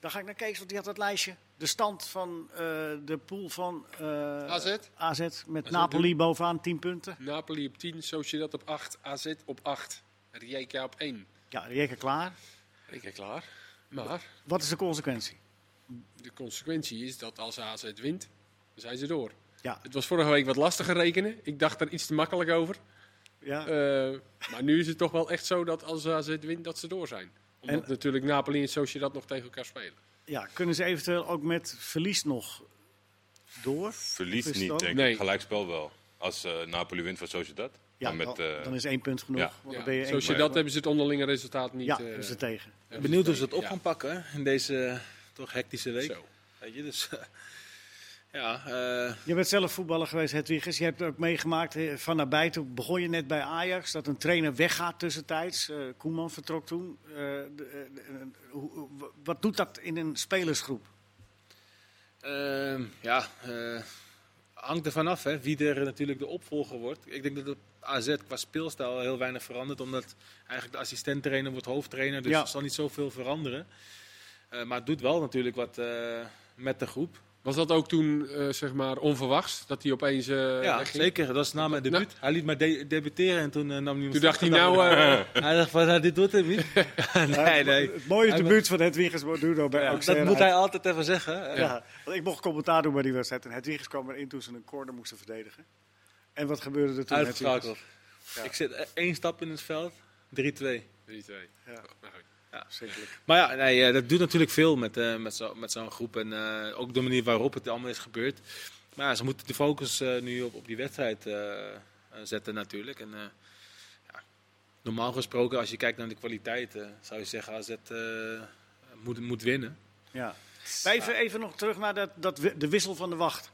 S1: Dan ga ik naar Kees, want die had dat lijstje. De stand van eh, de pool van eh,
S2: AZ?
S1: AZ met Napoli bovenaan, 10 punten.
S2: Napoli op 10, Sociedad op 8, AZ op 8, Rijeka op 1.
S1: Ja, Rijeka klaar.
S2: Rijeka klaar. Maar
S1: Wat is de consequentie?
S2: de consequentie is dat als AZ wint, dan zijn ze door.
S1: Ja,
S2: Het was vorige week wat lastiger rekenen. Ik dacht daar iets te makkelijk over.
S1: ja.
S2: Eh, maar nu is het toch wel echt zo dat als AZ wint, dat ze door zijn. Omdat
S1: En-
S2: natuurlijk Napoli en Sociedad nog tegen elkaar spelen.
S1: Ja, kunnen ze eventueel ook met verlies nog door?
S4: Verlies
S1: Of is het
S4: niet,
S1: dan-
S4: denk ik.
S2: Nee.
S4: Gelijkspel wel. Als eh, Napoli wint van Sociedad.
S1: Ja,
S4: dan met,
S1: dan,
S4: eh,
S1: dan is één punt genoeg.
S4: ja.
S1: want dan
S2: Ja.
S1: ben je één
S2: Sociedad
S1: punt.
S2: hebben ze het onderlinge resultaat niet.
S1: Ja,
S2: eh,
S1: hebben ze tegen.
S2: hebben ze
S3: Benieuwd hoe ze dat
S2: tegen.
S3: op gaan pakken hè, in deze eh, toch hectische
S2: Ja,
S3: week.
S2: zo.
S3: Weet je, dus ja, eh,
S1: Je bent zelf voetballer geweest, Hedwiges. Je hebt het ook meegemaakt eh, van nabij. Toen begon je net bij Ajax, dat een trainer weggaat tussentijds. Eh, Koeman vertrok toen. Eh, de- de- de- hoe- hoe- wat doet dat in een spelersgroep?
S3: ehm, ja eh, hangt er vanaf hè, wie er natuurlijk de opvolger wordt. Ik denk dat het AZ qua speelstijl heel weinig verandert, omdat eigenlijk de assistent-trainer wordt hoofdtrainer, dus
S1: Ja.
S3: er zal niet zoveel veranderen. Eh, maar het doet wel natuurlijk wat eh, met de groep.
S2: Was dat ook toen eh, zeg maar onverwachts? Dat hij opeens. eh,
S3: ja,
S2: wegging?
S3: zeker. Dat is na mijn debuut. hij liet mij de- debuteren en toen eh, nam hij
S2: Toen dacht hij nou. eh,
S3: Hij dacht van, nou, dit wordt hem niet. nee, nee.
S1: Eh, Het mooie
S3: Hij
S1: debuut van Hedwiges Borduno bij Ajax.
S3: dat moet hij altijd even zeggen. hè.
S1: Ja, want ik mocht commentaar doen bij die wedstrijd. En Hedwiges kwam erin toen ze een corner moesten verdedigen. En wat gebeurde er toen?
S3: Uitgeschakeld.
S1: Ja.
S3: Ik zit eh, één stap in het veld, 3-2.
S2: 3-2.
S1: Hedwiges? Ja,
S2: Nou, goed.
S1: verschrikkelijk.
S3: Maar ja, nee, eh, dat doet natuurlijk veel met, eh, met, zo, met zo'n groep. En eh, ook de manier waarop het allemaal is gebeurd. Maar ja, ze moeten de focus eh, nu op, op die wedstrijd eh, eh, zetten natuurlijk. En, eh, ja, normaal gesproken, als je kijkt naar de kwaliteit, eh, zou je zeggen AZ eh moet, moet winnen.
S1: Ja. Maar Even, even nog terug naar dat, dat, wi- de wissel van de wacht.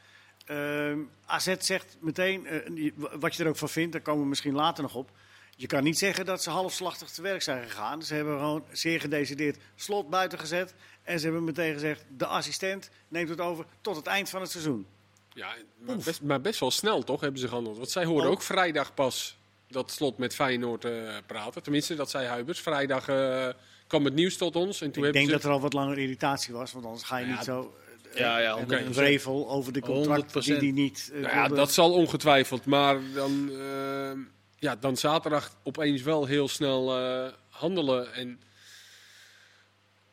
S1: Ehm, AZ zegt meteen, eh, die- wa- wat je er ook van vindt, daar komen we misschien later nog op. Je kan niet zeggen dat ze halfslachtig te werk zijn gegaan. Ze hebben gewoon zeer gedecideerd slot buiten gezet. En ze hebben meteen gezegd, de assistent neemt het over tot het eind van het seizoen.
S2: Ja, maar best, maar best wel snel toch hebben ze gehandeld. Want zij hoorden
S1: Oh.
S2: ook vrijdag pas dat slot met Feyenoord eh, praten. Tenminste, dat zei Huibers. Vrijdag eh, kwam het nieuws tot ons. En toen
S1: ik
S2: hebben
S1: denk
S2: ze... Nou
S1: dat er al wat langer irritatie was, want anders ga je
S2: Ja,
S1: niet zo... eh,
S3: ja, ja,
S1: en met
S2: 100%.
S1: een wrevel over de contract die
S3: 100%.
S1: die niet... eh,
S2: Nou ja,
S1: wilde-
S2: dat zal ongetwijfeld. Maar dan, eh, ja, dan zaterdag opeens wel heel snel eh, handelen. En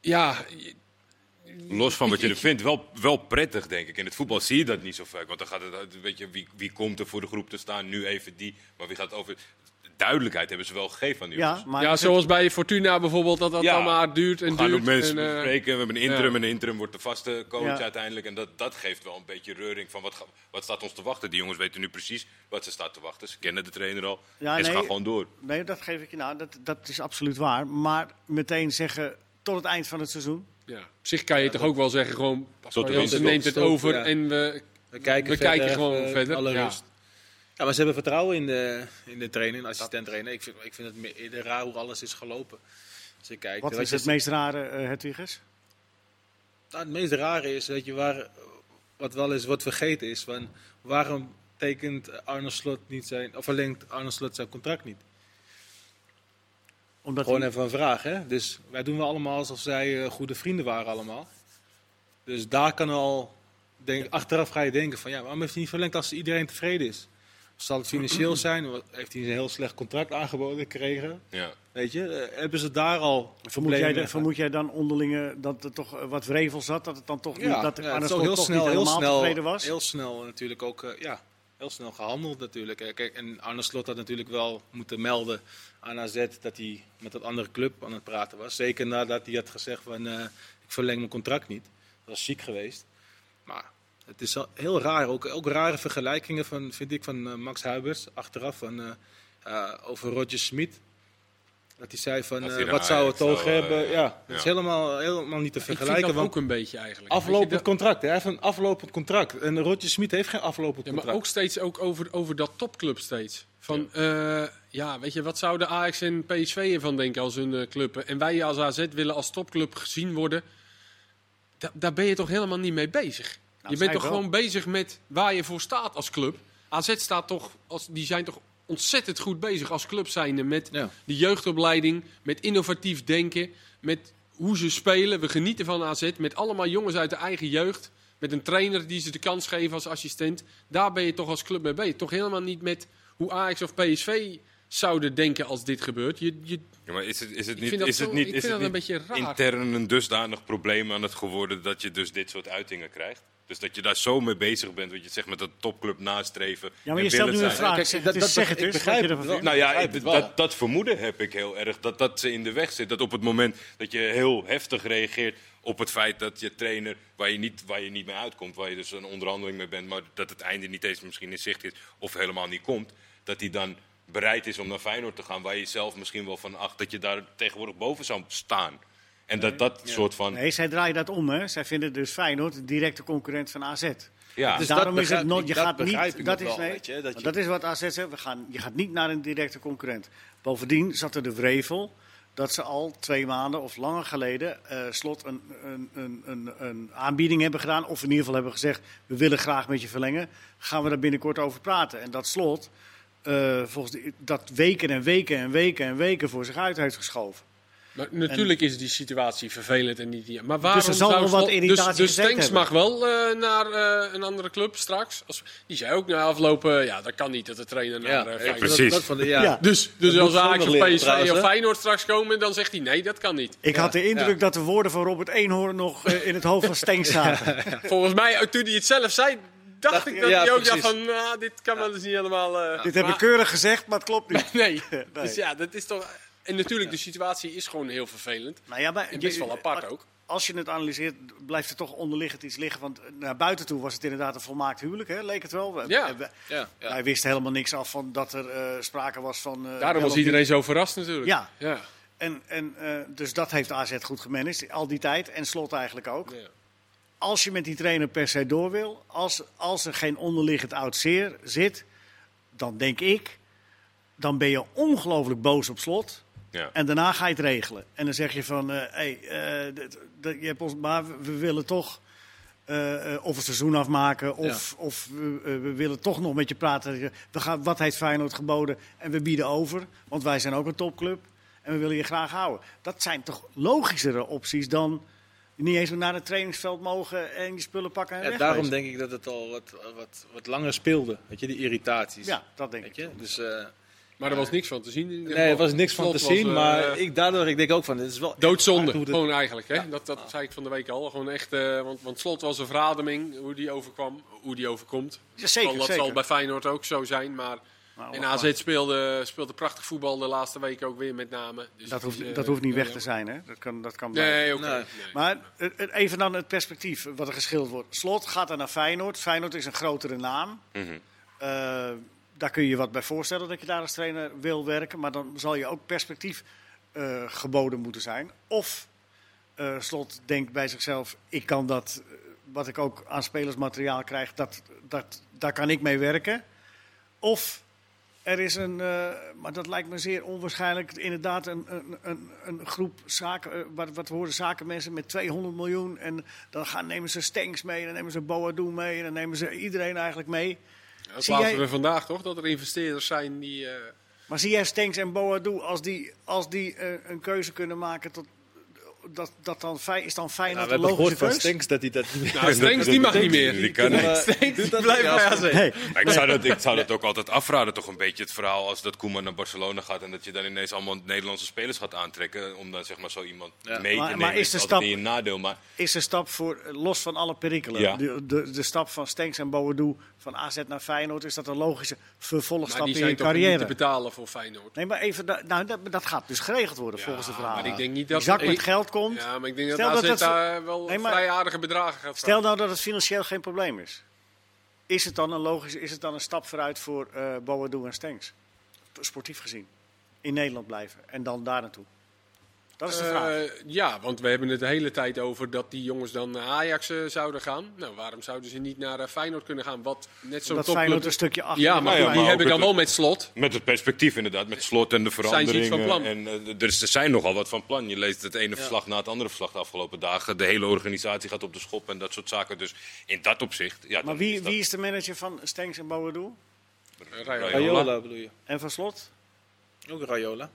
S2: ja, je-
S4: Los van wat je er vindt, wel, wel prettig, denk ik. In het voetbal zie je dat niet zo vaak. Want dan gaat het, uit, weet je, wie, wie komt er voor de groep te staan? Nu even die. Maar wie gaat over... Duidelijkheid hebben ze wel gegeven aan die
S1: ja,
S4: jongens.
S1: maar
S2: ja, zoals bij Fortuna bijvoorbeeld, dat dat
S4: Ja.
S2: dan maar duurt en
S4: We gaan
S2: duurt.
S4: ook mensen
S2: en, eh,
S4: bespreken. We hebben een interim
S2: ja.
S4: en de interim wordt de vaste coach
S1: Ja.
S4: uiteindelijk. En dat, dat geeft wel een beetje reuring van wat, ga- wat staat ons te wachten. Die jongens weten nu precies wat ze staat te wachten. Ze kennen de trainer al
S1: Ja,
S4: en ze
S1: nee.
S4: gaan gewoon door.
S1: Nee, dat geef ik je nou. Dat, dat is absoluut waar. Maar meteen zeggen tot het eind van het seizoen.
S2: ja. Op zich kan je toch ook wel zeggen, gewoon,
S4: de
S2: Pascal
S4: winst
S2: Jansen
S4: stopt.
S2: neemt het
S3: Stopt,
S2: over
S3: ja.
S2: en we
S3: We kijken,
S2: We
S3: verder,
S2: kijken gewoon
S3: eh,
S2: verder,
S3: Alle
S2: ja.
S3: rust. Ja, maar ze hebben vertrouwen in de, in de trainer, in de assistent-trainer. Ik vind, ik vind het meer- eerder raar hoe alles is gelopen. Als je kijkt.
S1: Wat
S3: Weet
S1: is
S3: je,
S1: het meest rare, eh Hedwiges?
S3: nou, het meest rare is, weet je, waar, wat wel eens wordt vergeten is, van, waarom tekent Arne Slot niet zijn, of verlengt Arne Slot zijn contract niet?
S1: Omdat
S3: Gewoon
S1: hij-
S3: even een vraag, hè? Dus wij doen wel allemaal alsof zij eh, goede vrienden waren allemaal. Dus daar kan al, denk, achteraf ga je denken van, ja, waarom heeft hij niet verlengd als iedereen tevreden is? Zal het financieel zijn? Wat- Heeft hij een heel slecht contract aangeboden gekregen?
S4: Ja.
S3: Weet je, eh, hebben ze daar al
S1: vermoed, jij,
S3: problemen?
S1: vermoed jij dan onderlinge dat er toch eh, wat wrevel zat? Dat het dan toch niet, dat
S3: ja,
S1: Arne
S3: het is ook
S1: Slot
S3: heel
S1: toch
S3: snel,
S1: niet
S3: heel
S1: helemaal
S3: snel,
S1: tevreden was?
S3: heel snel natuurlijk ook, eh, ja, heel snel gehandeld natuurlijk. Eh, Kijk, en Arne Slot had natuurlijk wel moeten melden aan AZ dat hij met dat andere club aan het praten was. Zeker nadat hij had gezegd van, eh, ik verleng mijn contract niet. Dat was ziek geweest. Maar het is al heel raar, ook, ook rare vergelijkingen van, vind ik van eh, Max Huibers achteraf van, eh, eh, over Roger Smit. Dat hij zei van,
S4: Als
S3: eh,
S4: hij naar
S3: wat zou het
S4: Ajax
S3: oog
S4: zou, eh,
S3: hebben? ja, dat is
S4: ja.
S3: helemaal, helemaal niet te
S2: ik
S3: vergelijken.
S2: vind dat
S3: want-
S2: ook een beetje eigenlijk. Weet je,
S3: Aflopend
S2: dat-
S3: contract. Hij heeft een aflopend contract. En Roger Smit heeft geen aflopend
S2: Ja, maar
S3: contract.
S2: ook steeds ook over, over dat topclub steeds. Van, ja. ja, weet je, wat zouden Ajax en PSV ervan denken als hun eh, club? En wij als AZ willen als topclub gezien worden. Da- daar ben je toch helemaal niet mee bezig? je
S1: zij
S2: bent toch
S1: wel.
S2: gewoon bezig met waar je voor staat als club? AZ staat toch, als, die zijn toch ontzettend goed bezig als club zijnde met
S3: Ja.
S2: de jeugdopleiding, met innovatief denken, met hoe ze spelen. We genieten van AZ, met allemaal jongens uit de eigen jeugd. Met een trainer die ze de kans geeft als assistent. Daar ben je toch als club mee bezig. Toch helemaal niet met hoe Ajax of PSV zouden denken als dit gebeurt. Je, je,
S4: Ja, maar is het, is het
S2: Ik
S4: niet,
S2: vind dat
S4: is het
S2: zo-
S4: niet,
S2: ik
S4: is
S2: vind
S4: het
S2: dat
S4: niet
S2: een beetje raar.
S4: intern een dusdanig probleem aan het geworden dat je dus dit soort uitingen krijgt? Dus dat je daar zo mee bezig bent, wat je zegt met dat topclub nastreven.
S1: Ja, maar
S4: en
S1: je stelt nu
S4: willen
S1: een
S4: zijn.
S1: vraag.
S3: Kijk,
S1: zeg,
S3: dat-
S1: het
S3: dat-
S1: is, zeg
S3: dat-
S1: het
S3: ik
S1: eens.
S3: begrijp
S1: wat je
S3: het
S1: ervan
S3: wel.
S1: vindt.
S4: Nou ja,
S3: begrijp
S4: ik-
S3: het wel.
S4: dat, dat vermoeden heb ik heel erg. Dat dat ze in de weg zit. Dat op het moment dat je heel heftig reageert op het feit dat je trainer, waar je niet, waar je niet mee uitkomt, waar je dus een onderhandeling mee bent, maar dat het einde niet eens misschien in zicht is of helemaal niet komt, dat hij dan bereid is om naar Feyenoord te gaan, waar je zelf misschien wel van acht dat je daar tegenwoordig boven zou staan. En dat dat soort van.
S1: Nee, zij draaien dat om, hè. Zij vinden dus Feyenoord de directe concurrent van AZ.
S4: ja.
S1: Daarom
S3: Dus dat
S1: Ah, nou, is het
S3: begrijp
S1: nooit,
S3: ik-
S1: je
S3: dat
S1: gaat
S3: begrijp
S1: niet,
S3: ik
S1: dat
S3: nog
S1: is,
S3: wel,
S1: nee,
S3: weet je, dat
S1: want
S3: je-
S1: dat is wat AZ zegt, we gaan, je gaat niet naar een directe concurrent. Bovendien zat er de wrevel dat ze al twee maanden of langer geleden eh, slot een, een, een, een, een aanbieding hebben gedaan. Of in ieder geval hebben gezegd, we willen graag met je verlengen. Gaan we daar binnenkort over praten. En dat slot, eh, volgens die- dat weken en weken en weken en weken voor zich uit heeft geschoven.
S2: Maar natuurlijk is die situatie vervelend en niet die. Maar waarom
S1: Dus er zal
S2: zou
S1: wel wat
S2: Slot-
S1: irritatie
S2: Dus, dus
S1: gezet
S2: Stenks
S1: hebben.
S2: mag wel eh, naar eh, een andere club straks. Als, die zei ook na aflopen, ja, dat kan niet dat de trainer naar
S3: Ja,
S2: eh,
S3: ik
S2: Feyenoord-
S4: precies.
S3: Dat, dat van de, ja.
S1: Ja.
S2: Dus, dus
S3: moet
S2: als
S3: Sander
S2: Ajax of
S3: leren
S2: PSV
S3: trouwens,
S2: of
S3: hè?
S2: Feyenoord straks komen, dan zegt hij nee, dat kan niet.
S1: Ik had de indruk
S3: ja.
S1: dat de woorden van Robert Eenhoorn nog eh, in het hoofd van Stenks zaten.
S2: Volgens mij, eh, toen hij het zelf zei, dacht
S3: Dacht-
S2: ik dat
S3: ja,
S2: hij ook dacht
S3: precies.
S2: van, nou, dit kan wel eens niet helemaal... eh,
S1: Dit heb ik
S2: maar-
S1: keurig gezegd, maar het klopt niet.
S2: Nee.
S1: Nee.
S2: Dus ja, dat is toch... En natuurlijk, de situatie is gewoon heel vervelend.
S1: Nou ja, maar,
S2: En best wel apart ook.
S1: Als je het analyseert, blijft er toch onderliggend iets liggen. Want naar buiten toe was het inderdaad een volmaakt huwelijk, hè? leek het wel. We-
S2: Ja.
S1: we-
S3: Ja, ja.
S1: Wij wisten helemaal niks af van dat er eh, sprake was van... eh,
S2: Daarom
S1: wel
S2: was
S1: of
S2: iedereen zo verrast natuurlijk.
S1: Ja.
S2: ja.
S1: niet. En, en, eh, dus dat heeft AZ goed gemanaged, al die tijd. En Slot eigenlijk ook.
S2: Ja.
S1: Als je met die trainer per se door wil, als, als er geen onderliggend oud zeer zit... dan denk ik, dan ben je ongelooflijk boos op Slot...
S4: ja.
S1: En daarna ga je het regelen. En dan zeg je van, eh, hey, eh, dit- dat- je hebt ons, maar we- we willen toch eh, eh, of een seizoen afmaken, of, of we, eh, we willen toch nog met je praten. We gaan, wat heeft Feyenoord geboden en we bieden over, want wij zijn ook een topclub en we willen je graag houden. Dat zijn toch logischere opties dan niet eens meer naar het trainingsveld mogen en je spullen pakken en
S3: Ja,
S1: wegwezen.
S3: daarom denk ik dat het al wat, wat, wat langer speelde. Weet je, die irritaties.
S1: Ja, dat denk ik.
S3: Weet je? Dus, eh,
S2: Maar er was niks van te zien. in ieder
S3: nee,
S2: geval.
S3: er was niks van te
S2: Slot was,
S3: zien.
S2: eh,
S3: maar ik, daardoor ik denk ook van, het is wel echt
S2: Doodzonde,
S3: hard hoe dit-
S2: gewoon eigenlijk. Hè? Dat, dat zei ik van de week al. Gewoon echt, eh, want, want slot was een verademing, hoe die overkwam, hoe die overkomt.
S1: Ja, zeker,
S2: dat zal- dat
S1: zeker.
S2: zal bij Feyenoord ook zo zijn. Maar,
S1: Nou,
S2: en
S1: maar-
S2: AZ speelde, speelde prachtig voetbal de laatste week ook weer met name. Dus
S1: Dat
S2: het is,
S1: hoeft,
S2: eh,
S1: dat hoeft niet weg te
S2: eh,
S1: zijn, hè? Dat kan, dat kan blijven.
S2: Nee, oké.
S3: Nee.
S2: nee.
S1: Maar eh, eh, even dan het perspectief eh, wat er geschilderd wordt. Slot gaat dan naar Feyenoord. Feyenoord is een grotere naam.
S4: Mhm.
S1: Eh, daar kun je je wat bij voorstellen dat je daar als trainer wil werken. Maar dan zal je ook perspectief eh, geboden moeten zijn. Of eh, Slot denkt bij zichzelf, ik kan dat, eh, wat ik ook aan spelersmateriaal krijg, dat, dat, daar kan ik mee werken. Of er is een, eh, maar dat lijkt me zeer onwaarschijnlijk, inderdaad een, een, een, een groep zaken, eh, wat, wat horen zakenmensen met 200 miljoen. En dan gaan, nemen ze Stenks mee, dan nemen ze Boadu mee, dan nemen ze iedereen eigenlijk mee.
S2: Ja, Dat
S1: Zie
S2: laten
S1: jij-
S2: we vandaag toch, dat er investeerders zijn die... eh,
S1: Maar zie jij Stenks en Boadu, als die, als die eh, een keuze kunnen maken, tot, dat, dat dan, fijn- is dan fijn
S3: Nou, we
S1: dat een
S3: hebben
S1: logische
S3: gehoord van
S1: keuze?
S3: Stenks dat hij dat niet
S2: nou, Stenks die mag niet meer.
S4: Die kan niet.
S3: Stenks,
S2: Blijf bij AZ.
S1: Nee.
S4: Maar ik zou, dat, ik zou dat ook altijd afraden, toch een beetje het verhaal als dat Koeman naar Barcelona gaat en dat je dan ineens allemaal Nederlandse spelers gaat aantrekken om dan zeg maar zo iemand mee te
S1: Maar- maar
S4: nemen.
S1: is de
S4: altijd
S1: stap-
S4: niet een nadeel, maar
S1: Is een stap voor, los van alle perikelen.
S4: Ja.
S1: De, de, de stap van Stenks en Boadu van AZ naar Feyenoord, is dat een logische
S2: Maar
S1: vervolgstap
S2: die
S1: in je
S2: zijn toch niet te
S1: carrière?
S2: betalen voor Feyenoord.
S1: Nee, maar even, da- nou, dat, dat gaat dus geregeld worden volgens de verhaal.
S2: maar ik denk niet dat-
S1: Die zak met
S2: ik-
S1: geld komt.
S2: Ja, maar ik denk dat
S1: Stel
S2: AZ
S1: dat dat-
S2: daar wel
S1: Nee, maar-
S2: vrij aardige bedragen gaat
S1: Stel nou dat het financieel geen probleem is. Is het dan een, logische, is het dan een stap vooruit voor eh Boadu en Stenks? Sportief gezien. In Nederland blijven en dan daar naartoe. Dat is de vraag.
S2: Eh, ja, want we hebben het de hele tijd over dat die jongens dan naar Ajax eh, zouden gaan. Nou, waarom zouden ze niet naar eh, Feyenoord kunnen gaan? Wat net zo'n
S1: dat
S2: topclub...
S1: Feyenoord een stukje achter
S2: Ja,
S1: de
S2: maar
S1: lijn
S4: ja,
S3: Nou
S2: die
S4: maar
S2: hebben
S4: ook
S2: dan
S4: het-
S2: wel met slot.
S4: met het perspectief inderdaad, met slot en de
S2: iets van
S4: veranderingen.
S2: plan?
S4: En, eh, dus er zijn nogal wat van plan. Je leest het ene verslag na het andere verslag de afgelopen dagen. De hele organisatie gaat op de schop en dat soort zaken. Dus in dat opzicht, ja,
S1: Maar
S4: dan
S1: wie,
S4: is dat-
S1: wie is de manager van Stenks en Boadu?
S2: Eh, Raiola.
S3: Rayola bedoel je?
S1: En van Slot?
S3: Ook Rayola.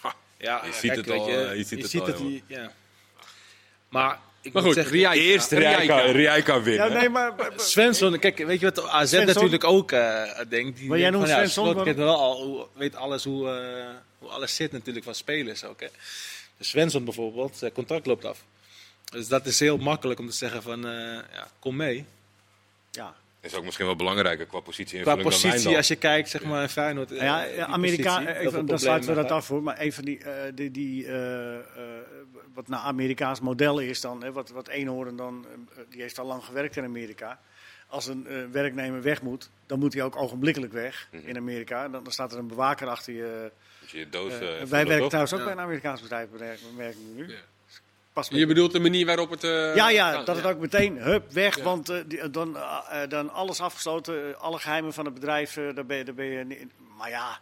S4: Ha.
S3: Ja,
S4: Je
S3: ja,
S4: ziet
S3: kijk,
S4: het al,
S3: weet
S4: eh, je ziet het al,
S3: die- ja. Maar ik
S2: Maar
S3: moet
S2: goed,
S3: zeggen,
S2: Rijka.
S4: Eerst Rijka,
S2: Rijka.
S4: Rijka
S1: Ja,
S4: winnen.
S1: nee, maar, maar-
S3: Svensson, kijk, weet je wat AZ
S1: Svensson?
S3: natuurlijk ook eh, denkt? Die
S1: Maar jij
S3: denkt
S1: noemt
S3: van, ja,
S1: Svensson,
S3: Slot
S1: maar-
S3: kent wel al, hoe- weet alles hoe, eh, hoe alles zit natuurlijk van spelers ook. Hè. Dus Svensson bijvoorbeeld, zijn contract loopt af. Dus dat is heel makkelijk om te zeggen van, eh, ja, kom mee.
S1: ja.
S4: Is ook misschien wel belangrijker qua positie
S3: Qua
S4: invulling
S3: positie,
S4: dan Wijndal.
S3: als je kijkt, zeg maar, in Feyenoord. eh,
S1: Nou
S3: die
S1: ja, Amerika,
S3: positie,
S1: eh,
S3: heel veel
S1: even, dan
S3: problemen
S1: sluiten we dat
S3: daar.
S1: af hoor. Maar een van die, eh, die, die eh, eh, wat naar Amerikaans model is dan, hè, wat, wat Eenhoorn dan, eh, die heeft al lang gewerkt in Amerika. Als een eh, werknemer weg moet, dan moet hij ook ogenblikkelijk weg in Amerika. Dan, dan staat er een bewaker achter je.
S4: Als je je doos,
S1: eh,
S4: eh,
S1: wij
S4: invult,
S1: werken
S4: toch?
S1: trouwens ook
S3: Ja.
S1: bij een Amerikaans bedrijf, merk- merk ik nu. Dus
S2: Ja.
S1: Pas met
S2: Je bedoelt de manier waarop het... eh,
S1: ja, ja,
S2: gaat,
S1: dat
S2: ja.
S1: het ook meteen, hup, weg.
S2: Ja.
S1: Want eh, die- dan, eh, eh, dan alles afgesloten, eh, alle geheimen van het bedrijf, eh, daar ben je... Daar ben je ni- maar ja,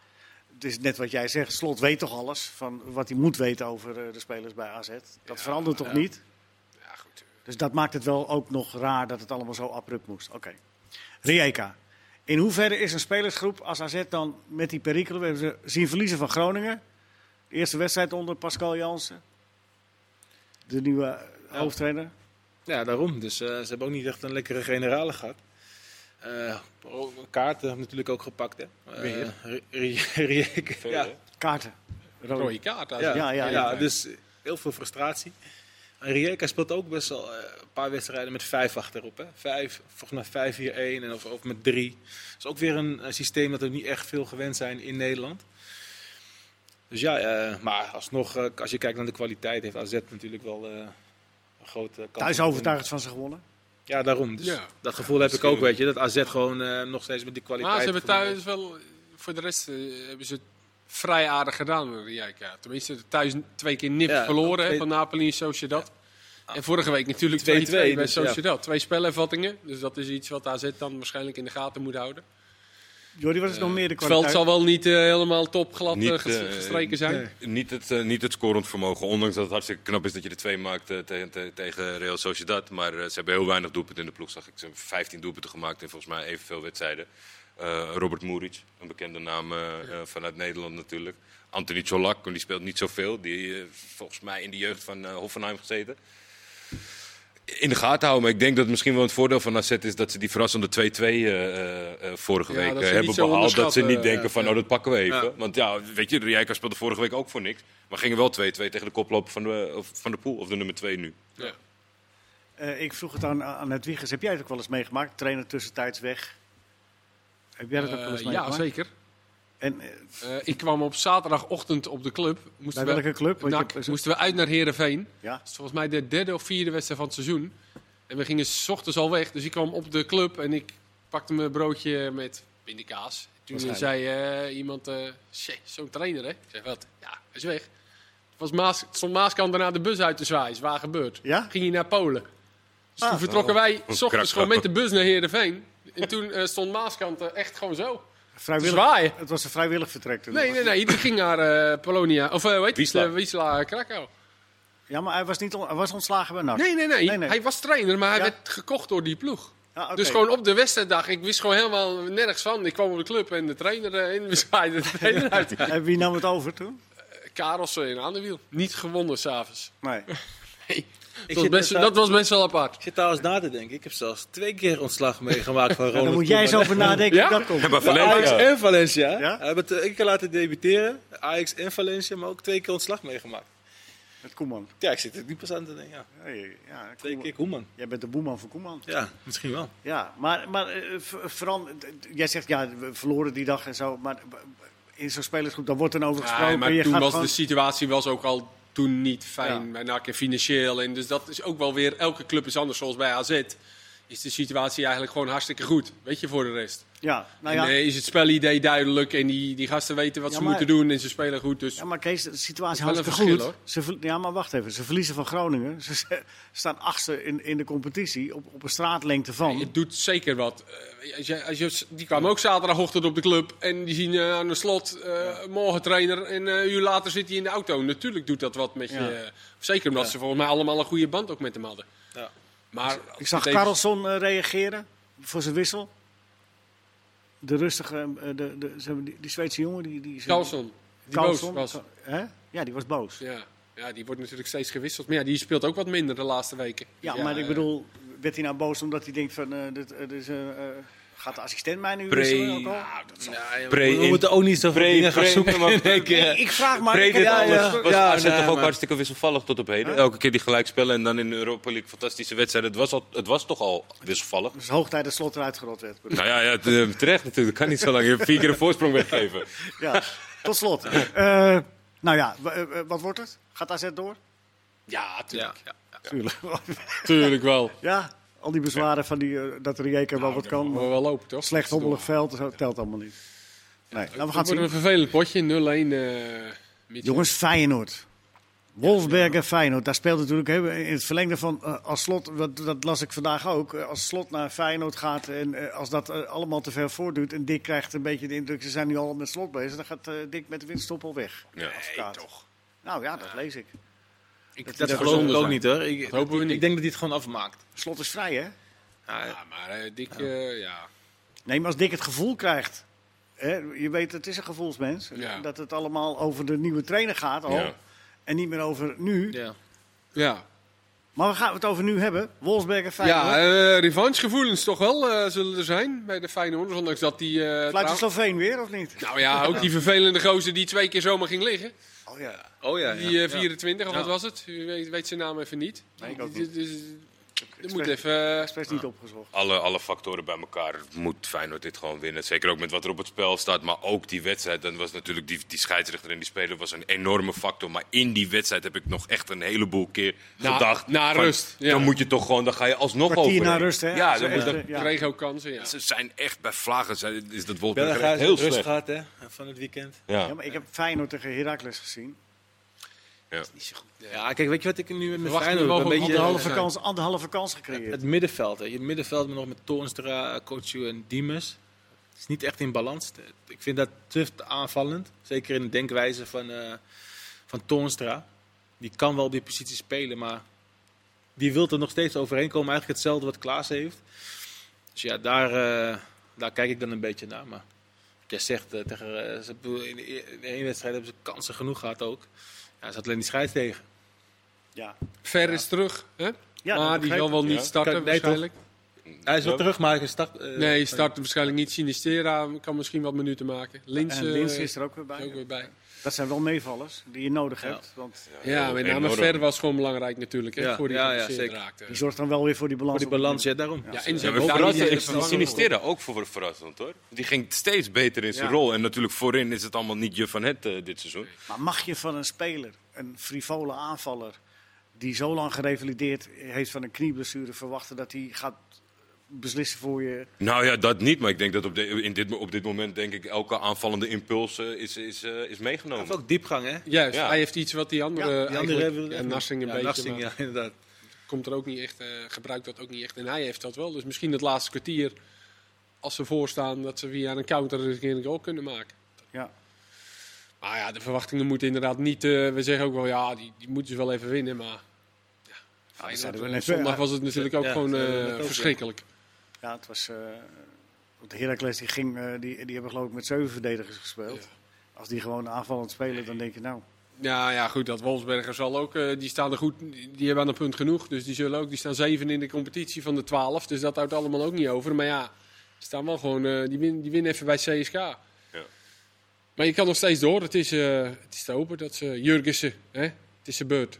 S1: het is net wat jij zegt. Slot weet toch alles van wat hij moet weten over eh, de spelers bij AZ. Dat verandert toch niet?
S2: Ja, goed.
S1: Dus dat maakt het wel ook nog raar dat het allemaal zo abrupt moest. Oké. Rijeka. In hoeverre is een spelersgroep als AZ dan met die perikelen... We hebben ze zien verliezen van Groningen. De eerste wedstrijd onder Pascal Jansen. De nieuwe eh, hoofdtrainer.
S3: Ja, daarom. Dus eh, ze hebben ook niet echt een lekkere generale gehad. Eh, ook kaarten hebben natuurlijk ook gepakt, hè. Eh,
S2: Weer.
S3: Ri- Ri- Rijeka,
S4: Veel,
S3: ja.
S4: hè?
S1: Kaarten. Rood.
S2: Rode kaart. als-
S3: Ja,
S1: Ja,
S3: ja,
S1: ja,
S3: ja,
S1: ja.
S3: dus heel veel frustratie. En Rijeka speelt ook best wel eh, een paar wedstrijden met vijf achterop. Hè? Vijf, volgens mij 5-4-1 en of, of met drie. Dat is ook weer een eh, systeem dat we niet echt veel gewend zijn in Nederland. Dus ja, eh, maar alsnog, eh, als je kijkt naar de kwaliteit, heeft AZ natuurlijk wel eh, een grote kans.
S1: Thuis overtuigd van ze gewonnen.
S3: Ja, daarom. Dus
S2: Ja.
S3: Dat gevoel heb ik
S4: misschien
S3: ook, weet je. Dat AZ gewoon eh, nog steeds met die kwaliteit...
S2: Maar ze hebben
S3: van-
S2: thuis wel... Voor de rest eh, hebben ze het vrij aardig gedaan, de Rijka. Tenminste, thuis twee keer nip
S3: Ja,
S2: verloren hè,
S3: twee-
S2: van Napoli en Sociedad. En vorige week natuurlijk 2-2
S3: 2-2
S2: bij
S3: dus, ja.
S2: Sociedad. Twee spelervattingen. Dus dat is iets wat AZ dan waarschijnlijk in de gaten moet houden.
S1: Jordi, wat is nog meer de
S2: Eh, Het veld
S1: kwaliteit?
S2: zal wel niet eh, helemaal topglad eh,
S4: Niet,
S2: ges-
S4: eh,
S2: gestreken zijn.
S3: nee.
S4: Niet het, eh, niet het scorend vermogen, ondanks dat het hartstikke knap is dat je er twee maakt eh, te- te- tegen Real Sociedad. Maar eh, ze hebben heel weinig doelpunten in de ploeg, zag ik. Ze hebben 15 doelpunten gemaakt in volgens mij evenveel wedstrijden. Eh, Robert Muric, een bekende naam eh, eh, vanuit Nederland natuurlijk. Anthony Cholak, die speelt niet zoveel. Die eh, volgens mij in de jeugd van eh, Hoffenheim gezeten. In de gaten houden, maar ik denk dat het misschien wel het voordeel van AZ is dat ze die verrassende 2-2 eh, eh, eh, vorige
S2: Ja,
S4: week
S2: dat
S4: eh,
S2: ze niet zo
S4: hebben behaald. Dat ze
S2: onderschatten, eh,
S4: niet denken van,
S2: ja.
S4: oh, dat pakken we even.
S3: Ja.
S4: Want ja, weet je, Rijka speelde vorige week ook voor niks. Maar gingen wel 2-2 tegen de koploper van de, of van de pool, of de nummer 2 nu.
S2: Ja.
S1: Eh, ik vroeg het aan, aan het Wiegers. Heb jij het ook wel eens meegemaakt? Trainer tussentijds weg. Heb jij dat ook wel eens
S2: Eh, ja,
S1: meegemaakt?
S2: zeker.
S1: En eh,
S2: Eh, ik kwam op zaterdagochtend op de club. Moesten
S1: bij
S2: we-
S1: welke club? Want je
S2: NAC,
S1: hebt- eh,
S2: moesten we uit naar Herenveen.
S1: ja.
S2: Het is volgens mij de derde of vierde wedstrijd van het seizoen. En we gingen s ochtends al weg. Dus ik kwam op de club en ik pakte mijn broodje met pindakaas. Toen zei eh, iemand, eh "Tje, zo'n trainer hè? Ik zeg, wat? Ja, hij is weg. Het Was Maas, stond Maaskant daarna de bus uit te zwaaien. Is Waar gebeurd?
S1: Ja?
S2: Ging hij naar Polen. Dus
S1: Ah.
S2: toen vertrokken wij s ochtends
S4: krakgrap.
S2: gewoon met de bus naar Heerenveen. En toen eh, stond Maaskant eh, echt gewoon zo. Te
S1: Vrijwillig,
S2: zwaaien.
S1: het was een vrijwillig vertrek. toen.
S2: Nee, nee, nee. Die ging naar eh, Polonia. Of eh, hoe heet
S4: Wisla.
S2: het? Eh, Wisla Krakau.
S1: Ja, maar hij was, niet on- hij was ontslagen bij NAC.
S2: Nee nee, nee,
S1: Ah. Nee, nee.
S2: Hij was trainer, maar hij
S1: Ja.
S2: werd gekocht door die ploeg.
S1: Ah, oké.
S2: Dus gewoon op de wedstrijddag, ik wist gewoon helemaal nergens van. Ik kwam op de club en de trainer eh, in, we zwaaiden de trainer uit.
S1: En wie nam het over toen?
S2: Karels eh, in aan de wiel. Niet gewonnen s'avonds.
S1: Nee.
S3: Ik
S2: Dat, was
S3: zit
S2: best-
S3: daar-
S2: dat was best wel apart.
S3: Ik zit trouwens na te denken. Ik heb zelfs twee keer ontslag meegemaakt van
S1: Ja,
S3: Ronald
S1: dan moet jij eens
S3: Koeman.
S1: over nadenken.
S2: Ja?
S1: hoe Dat komt.
S4: Ja, maar
S3: Bij Ajax
S4: Valencia.
S3: en Valencia.
S1: Ja?
S3: Hebben het eh, één keer laten debuteren. Ajax en Valencia, maar ook twee keer ontslag meegemaakt.
S1: Met Koeman.
S3: Ja, ik zit er niet pas aan te denken. Ja.
S1: Hey, ja,
S3: Twee
S1: Koeman.
S3: keer Koeman.
S1: Jij bent de boeman van Koeman.
S3: Ja, misschien wel.
S1: Ja, maar, maar eh, v- vooral, eh, d- jij zegt ja, we verloren die dag en zo. Maar b- b- in zo'n spelersgroep, daar wordt dan over gesproken.
S2: Ja, Nou, maar
S1: je
S2: toen
S1: gaat
S2: was dus-
S1: gewoon-
S2: de situatie was ook al toen niet fijn
S1: Ja.
S2: bij NAC en financieel. En dus dat is ook wel weer, elke club is anders. Zoals bij AZ is de situatie eigenlijk gewoon hartstikke goed. Weet je, voor de rest.
S1: Ja, nou ja.
S2: En, eh, is het spelidee duidelijk en die, die gasten weten wat
S1: Ja,
S2: ze
S1: maar-
S2: moeten doen en ze spelen goed. Dus
S1: Ja, maar Kees, de situatie
S2: Dat is wel
S1: hartstikke
S2: een
S1: goed. Ze
S2: verschil,
S1: ver- ja, maar wacht even. Ze verliezen van Groningen. Ze ze staan achtste in, in de competitie op, op een straatlengte van.
S2: Het doet zeker wat. Eh, als je, als je, die kwam ook zaterdagochtend op de club en die zien eh, aan de slot eh, morgen trainer en eh, een uur later zit hij in de auto. Natuurlijk doet dat wat met
S1: Ja.
S2: je. eh, Zeker omdat ze volgens mij allemaal een goede band ook met hem hadden.
S3: Ja.
S2: Maar
S1: Ik zag
S2: Deze-
S1: Carlson eh, reageren voor zijn wissel. De rustige, eh, de, de, ze hebben die, die Zweedse jongen. Die, die,
S2: Carlson, die boos
S1: Carlson,
S2: was.
S1: Hè? Ja, die was boos.
S2: Ja. Ja. Ja, die wordt natuurlijk steeds gewisseld. Maar ja, die speelt ook wat minder de laatste weken.
S1: Ja, maar
S4: eh,
S1: ik bedoel, werd hij nou boos omdat hij denkt van, eh, dit, eh, dit is, eh, eh, gaat de assistent mij nu
S4: Pre-
S1: wisselen ook al?
S3: Ja,
S4: Pre-
S3: we, we
S4: in-
S3: moeten ook niet zoveel
S4: pre-
S3: dingen gaan
S4: pre-
S3: zoeken.
S4: maar-
S3: denk ik, eh.
S1: Ik vraag maar.
S4: Pre
S1: ik heb-
S4: dit
S3: ja,
S4: alles.
S3: ja.
S4: Was
S3: Ja,
S4: AZ
S3: nee,
S4: toch ook
S3: maar-
S4: hartstikke wisselvallig tot op heden? Elke keer die gelijkspellen en dan in de Europa League fantastische wedstrijden. Het was, al, het was toch al wisselvallig?
S1: Het is hoog tijd dat slot eruit gerot werd.
S4: Nou ja, ja t- eh, terecht natuurlijk. Kan niet zo lang. Je hebt vier keer een voorsprong weggeven.
S1: Ja, tot slot. Eh, nou ja, w- eh, eh, wat wordt het? Gaat AZ door?
S2: Ja, tuurlijk.
S3: Ja.
S1: Tuurlijk.
S2: Tuurlijk wel.
S1: ja, al die bezwaren van die, eh, dat er Rijker wel wat kan.
S2: Maar wel lopen, toch?
S1: Slecht hobbelig veld, dat telt allemaal niet. Nee, nou, we gaan
S2: Het
S1: het
S2: wordt een
S1: zien.
S2: vervelend potje. 0-1. eh, Mitchell.
S1: Jongens, Feyenoord. Wolfsberg en Feyenoord, daar speelt natuurlijk hè, in het verlengde van eh, als slot, wat- dat las ik vandaag ook, eh, als slot naar Feyenoord gaat en eh, als dat eh, allemaal te ver voortdoet en Dick krijgt een beetje de indruk, ze zijn nu al met slot bezig, dan gaat eh, Dick met de winststoppel weg.
S4: Ja.
S1: Advocaat. Nou ja, dat lees ik.
S3: Ik,
S2: zou
S3: dat geloof ik
S2: zonde
S3: ook
S2: zijn.
S3: niet hoor. Ik,
S2: Dat hopen we
S3: ik-
S2: niet.
S3: ik denk dat hij het gewoon afmaakt.
S1: Slot is vrij, hè?
S3: Ja,
S2: Ja, maar eh, Dick, eh, ja.
S1: Nee, maar als Dick het gevoel krijgt. Hè, je weet, het is een gevoelsmens.
S2: Ja.
S1: Dat het allemaal over de nieuwe trainer gaat al.
S4: Ja.
S1: En niet meer over nu.
S3: ja.
S2: Ja,
S1: Maar we gaan het over nu hebben. Wolfsberg en
S2: ja
S1: Feyenoord.
S2: eh, revanchegevoelens toch wel eh, zullen er zijn bij de Feyenoorders. Ondanks dat die... eh,
S1: Fluit de
S2: trouw-
S1: Sloveen weer, of niet?
S2: nou ja, ook die vervelende gozer die twee keer zomaar ging liggen.
S1: Oh ja.
S3: Oh ja.
S2: Die eh, 24, of wat was het? U weet, weet zijn naam even niet.
S1: Nee, ik ook
S2: Dus-
S1: niet.
S2: Dus, er moet
S1: spreek-
S2: even... eh,
S1: Expres niet opgezocht.
S4: Alle, alle factoren bij elkaar moet Feyenoord dit gewoon winnen. Zeker ook met wat er op het spel staat. Maar ook die wedstrijd. Dan was natuurlijk die, die scheidsrechter en die speler was een enorme factor. Maar in die wedstrijd heb ik nog echt een heleboel keer
S2: Na-
S4: gedacht.
S2: na
S4: van,
S2: rust, ja.
S4: Dan moet je toch gewoon, dan ga je alsnog over.
S1: Kwartier na rust, hè?
S4: Ja,
S1: Zo
S4: dan
S1: echt,
S4: moet dat-
S1: eh, ja.
S2: Kreeg ook kansen, ja.
S4: Ze zijn echt bij vlagen. zijn- Is dat Wolfsburg
S3: België
S4: echt
S3: heel
S4: heel
S3: rust
S4: slecht.
S3: gehad hè, van het weekend.
S1: Ja,
S4: Ja.
S1: maar ik heb Feyenoord tegen Heracles gezien.
S3: Ja, kijk, weet je wat ik nu met mijn
S2: Verwacht
S3: Feyenoord
S2: nu
S3: heb? Een
S2: mogen
S3: beetje
S2: we
S1: Anderhalve
S2: zijn.
S1: kans, anderhalve kans gecreëerd.
S3: het middenveld. Hè. Je middenveld met nog met Toornstra, Kochu en Diemers. Het is niet echt in balans. Ik vind dat tuft aanvallend. Zeker in de denkwijze van, eh van Toornstra. Die kan wel op die positie spelen, maar die wil er nog steeds overheen komen. Eigenlijk hetzelfde wat Klaas heeft. Dus ja, daar, eh, daar kijk ik dan een beetje naar. Maar wat jij zegt, eh, tegen, eh, ze, hebben- in de e- in de ene wedstrijd hebben ze kansen genoeg gehad ook. Ja, ze had alleen die scheids tegen.
S1: Ja.
S2: Ver is terug, hè?
S1: Ja, dat
S2: maar die
S1: begrijp
S2: zal
S1: ik.
S2: wel niet
S4: Ja.
S2: starten
S3: Kijk, nee, toch?
S2: waarschijnlijk.
S3: Hij is wel
S4: Ja.
S3: terug, maar hij start... eh,
S2: Nee, start waarschijnlijk niet. Sinistera kan misschien wat minuten maken. Lins,
S1: En
S2: eh,
S1: Lins is er ook weer
S2: is ook
S1: bij.
S2: weer bij.
S1: Dat zijn wel meevallers die je nodig
S3: Ja.
S1: hebt. Want
S2: Ja, met name
S4: Enorm.
S2: Ver was gewoon belangrijk natuurlijk, hè,
S3: Ja,
S2: voor die
S3: ja, ja,
S2: geblesseerd
S3: zeker.
S2: raakte.
S1: die zorgt dan wel weer voor die balans.
S3: Voor die
S1: op het
S3: balans, ja, daarom.
S2: Ja, en ze
S4: Ja,
S2: hebben
S4: maar
S2: daar
S4: verrassend,
S2: niet
S4: ik
S2: echt
S4: vond
S2: vervangen.
S4: Sinistera ook voor verrassend hoor. Die ging steeds beter in zijn
S2: Ja.
S4: rol. En natuurlijk voorin is het allemaal niet je van het eh, dit seizoen.
S1: Maar mag je van een speler, een frivole aanvaller, die zo lang gerevalideerd heeft van een knieblessure, verwachten dat hij gaat beslissen voor je?
S4: Nou ja, dat niet. Maar ik denk dat op, de- in dit, mo- op dit moment denk ik elke aanvallende impuls eh, is, is, eh, is
S3: Hij
S4: meegenomen.
S3: heeft ook diepgang, hè?
S2: Juist,
S4: Ja.
S2: hij heeft iets wat die andere, eh,
S1: Ja,
S3: Die
S2: eigenlijk-
S3: hebben-
S2: ja, Narsing een
S3: Ja,
S2: beetje,
S3: Narsing,
S2: maar
S3: ja, inderdaad.
S2: komt er ook niet echt, eh, gebruikt dat ook niet echt. En hij heeft dat wel. Dus misschien het laatste kwartier, als ze voorstaan, dat ze via een counter eens een keer een goal kunnen maken.
S1: Ja.
S2: Maar Ah ja, de verwachtingen moeten inderdaad niet. eh, we zeggen ook wel, ja, die, die moeten ze wel even winnen. Maar ja,
S1: we
S2: Feyenoord, eh,
S1: zeiden wel net,
S2: zondag
S1: ja.
S2: was het natuurlijk ook
S3: Ja,
S2: gewoon
S3: zeiden we
S2: eh,
S3: net ook, ja.
S2: verschrikkelijk.
S1: Ja, het was. eh, want Heracles die ging, eh, die, die hebben geloof ik met zeven verdedigers gespeeld. Als die gewoon aanvallend spelen, dan denk je nou.
S2: Ja, ja, goed, dat Wolfsberger zal ook. eh, die staan er goed, die hebben aan een punt genoeg. Dus die zullen ook. Die staan zeven in de competitie van de twaalf. Dus dat houdt allemaal ook niet over. Maar ja, die staan wel gewoon. eh, die, win, die winnen even bij CSK. Maar je kan nog steeds door. Het is, eh, het is te hopen dat ze. Jurgensen, hè? Het is zijn beurt.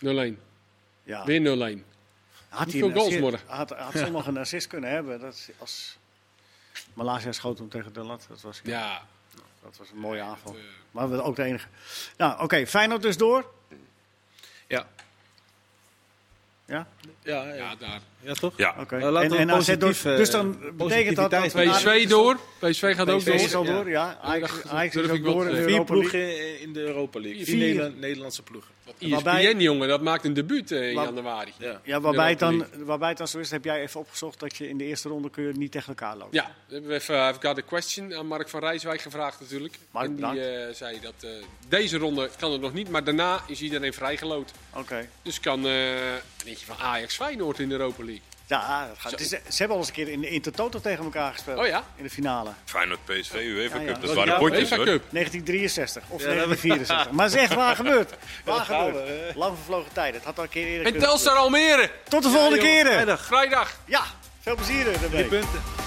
S2: 0-1.
S1: Ja.
S2: Weer 0-1.
S1: Had
S2: Niet veel
S1: een
S2: goals
S1: assist-
S2: morgen.
S1: Had, had zondag een assist kunnen hebben. Dat is als Malaysia schoot hem tegen de lat. Dat was,
S2: Ja,
S1: dat was een mooie aanval.
S2: eh.
S1: Maar we ook de enige. Nou, oké. Feyenoord dus door.
S3: Ja.
S1: Ja.
S3: Ja,
S2: ja
S3: ja. ja.
S2: daar.
S3: toch?
S4: Ja,
S1: Oké.
S3: Nou, laten we
S1: En, en AZ door.
S3: positief, eh,
S1: Dus dan betekent dat dat...
S3: positiviteit.
S1: na-
S2: PSV door. PSV gaat ook
S1: PSV is
S2: door.
S1: al
S3: Ja.
S1: door, ja. Ajax,
S2: dat
S1: Ajax is
S2: durf
S1: ook
S2: ik wel
S1: door
S2: te
S1: in de
S2: zeggen.
S3: Vier
S1: Europa League.
S3: ploegen in de Europa League.
S1: Vier.
S3: Vier Nederland- Nederlandse ploegen.
S1: Waarbij-
S2: ESPN, jongen, dat maakt een debuut eh, in
S1: Waar-
S2: januari.
S3: Ja.
S1: Ja, waarbij het, dan,
S2: Europa
S1: waarbij het dan zo is, heb jij even opgezocht dat je in de eerste ronde kun je niet tegen elkaar lopen.
S2: Ja, we hebben we even eh, I've got a question aan Mark van Rijswijk gevraagd natuurlijk.
S1: Mark,
S2: en die
S1: bedankt.
S2: eh, zei dat eh, deze ronde kan het nog niet, maar daarna is iedereen vrijgeloot.
S1: Oké.
S2: Dus kan eh, een beetje van Ajax Feyenoord in de Europa League.
S1: Ja, dat gaat- het is- ze hebben al eens een keer in de Intertoto tegen elkaar gespeeld.
S2: Oh ja?
S1: In de finale.
S4: Feyenoord PSV, UEFA
S1: Ja, ja.
S4: Cup. Dat
S1: Ja,
S4: waren
S1: ja.
S4: potjes
S2: UEFA
S4: hoor.
S2: Cup.
S1: 1963 of 1964. Maar zeg, waar gebeurt? Waar gebeurt? Lang vervlogen tijden. Het had al een keer eerder
S2: En
S1: kunnen
S2: Telstar Almere.
S1: gebeuren. Tot de volgende keer.
S2: Vrijdag.
S1: Ja, veel plezier eh, ermee.
S3: Punten.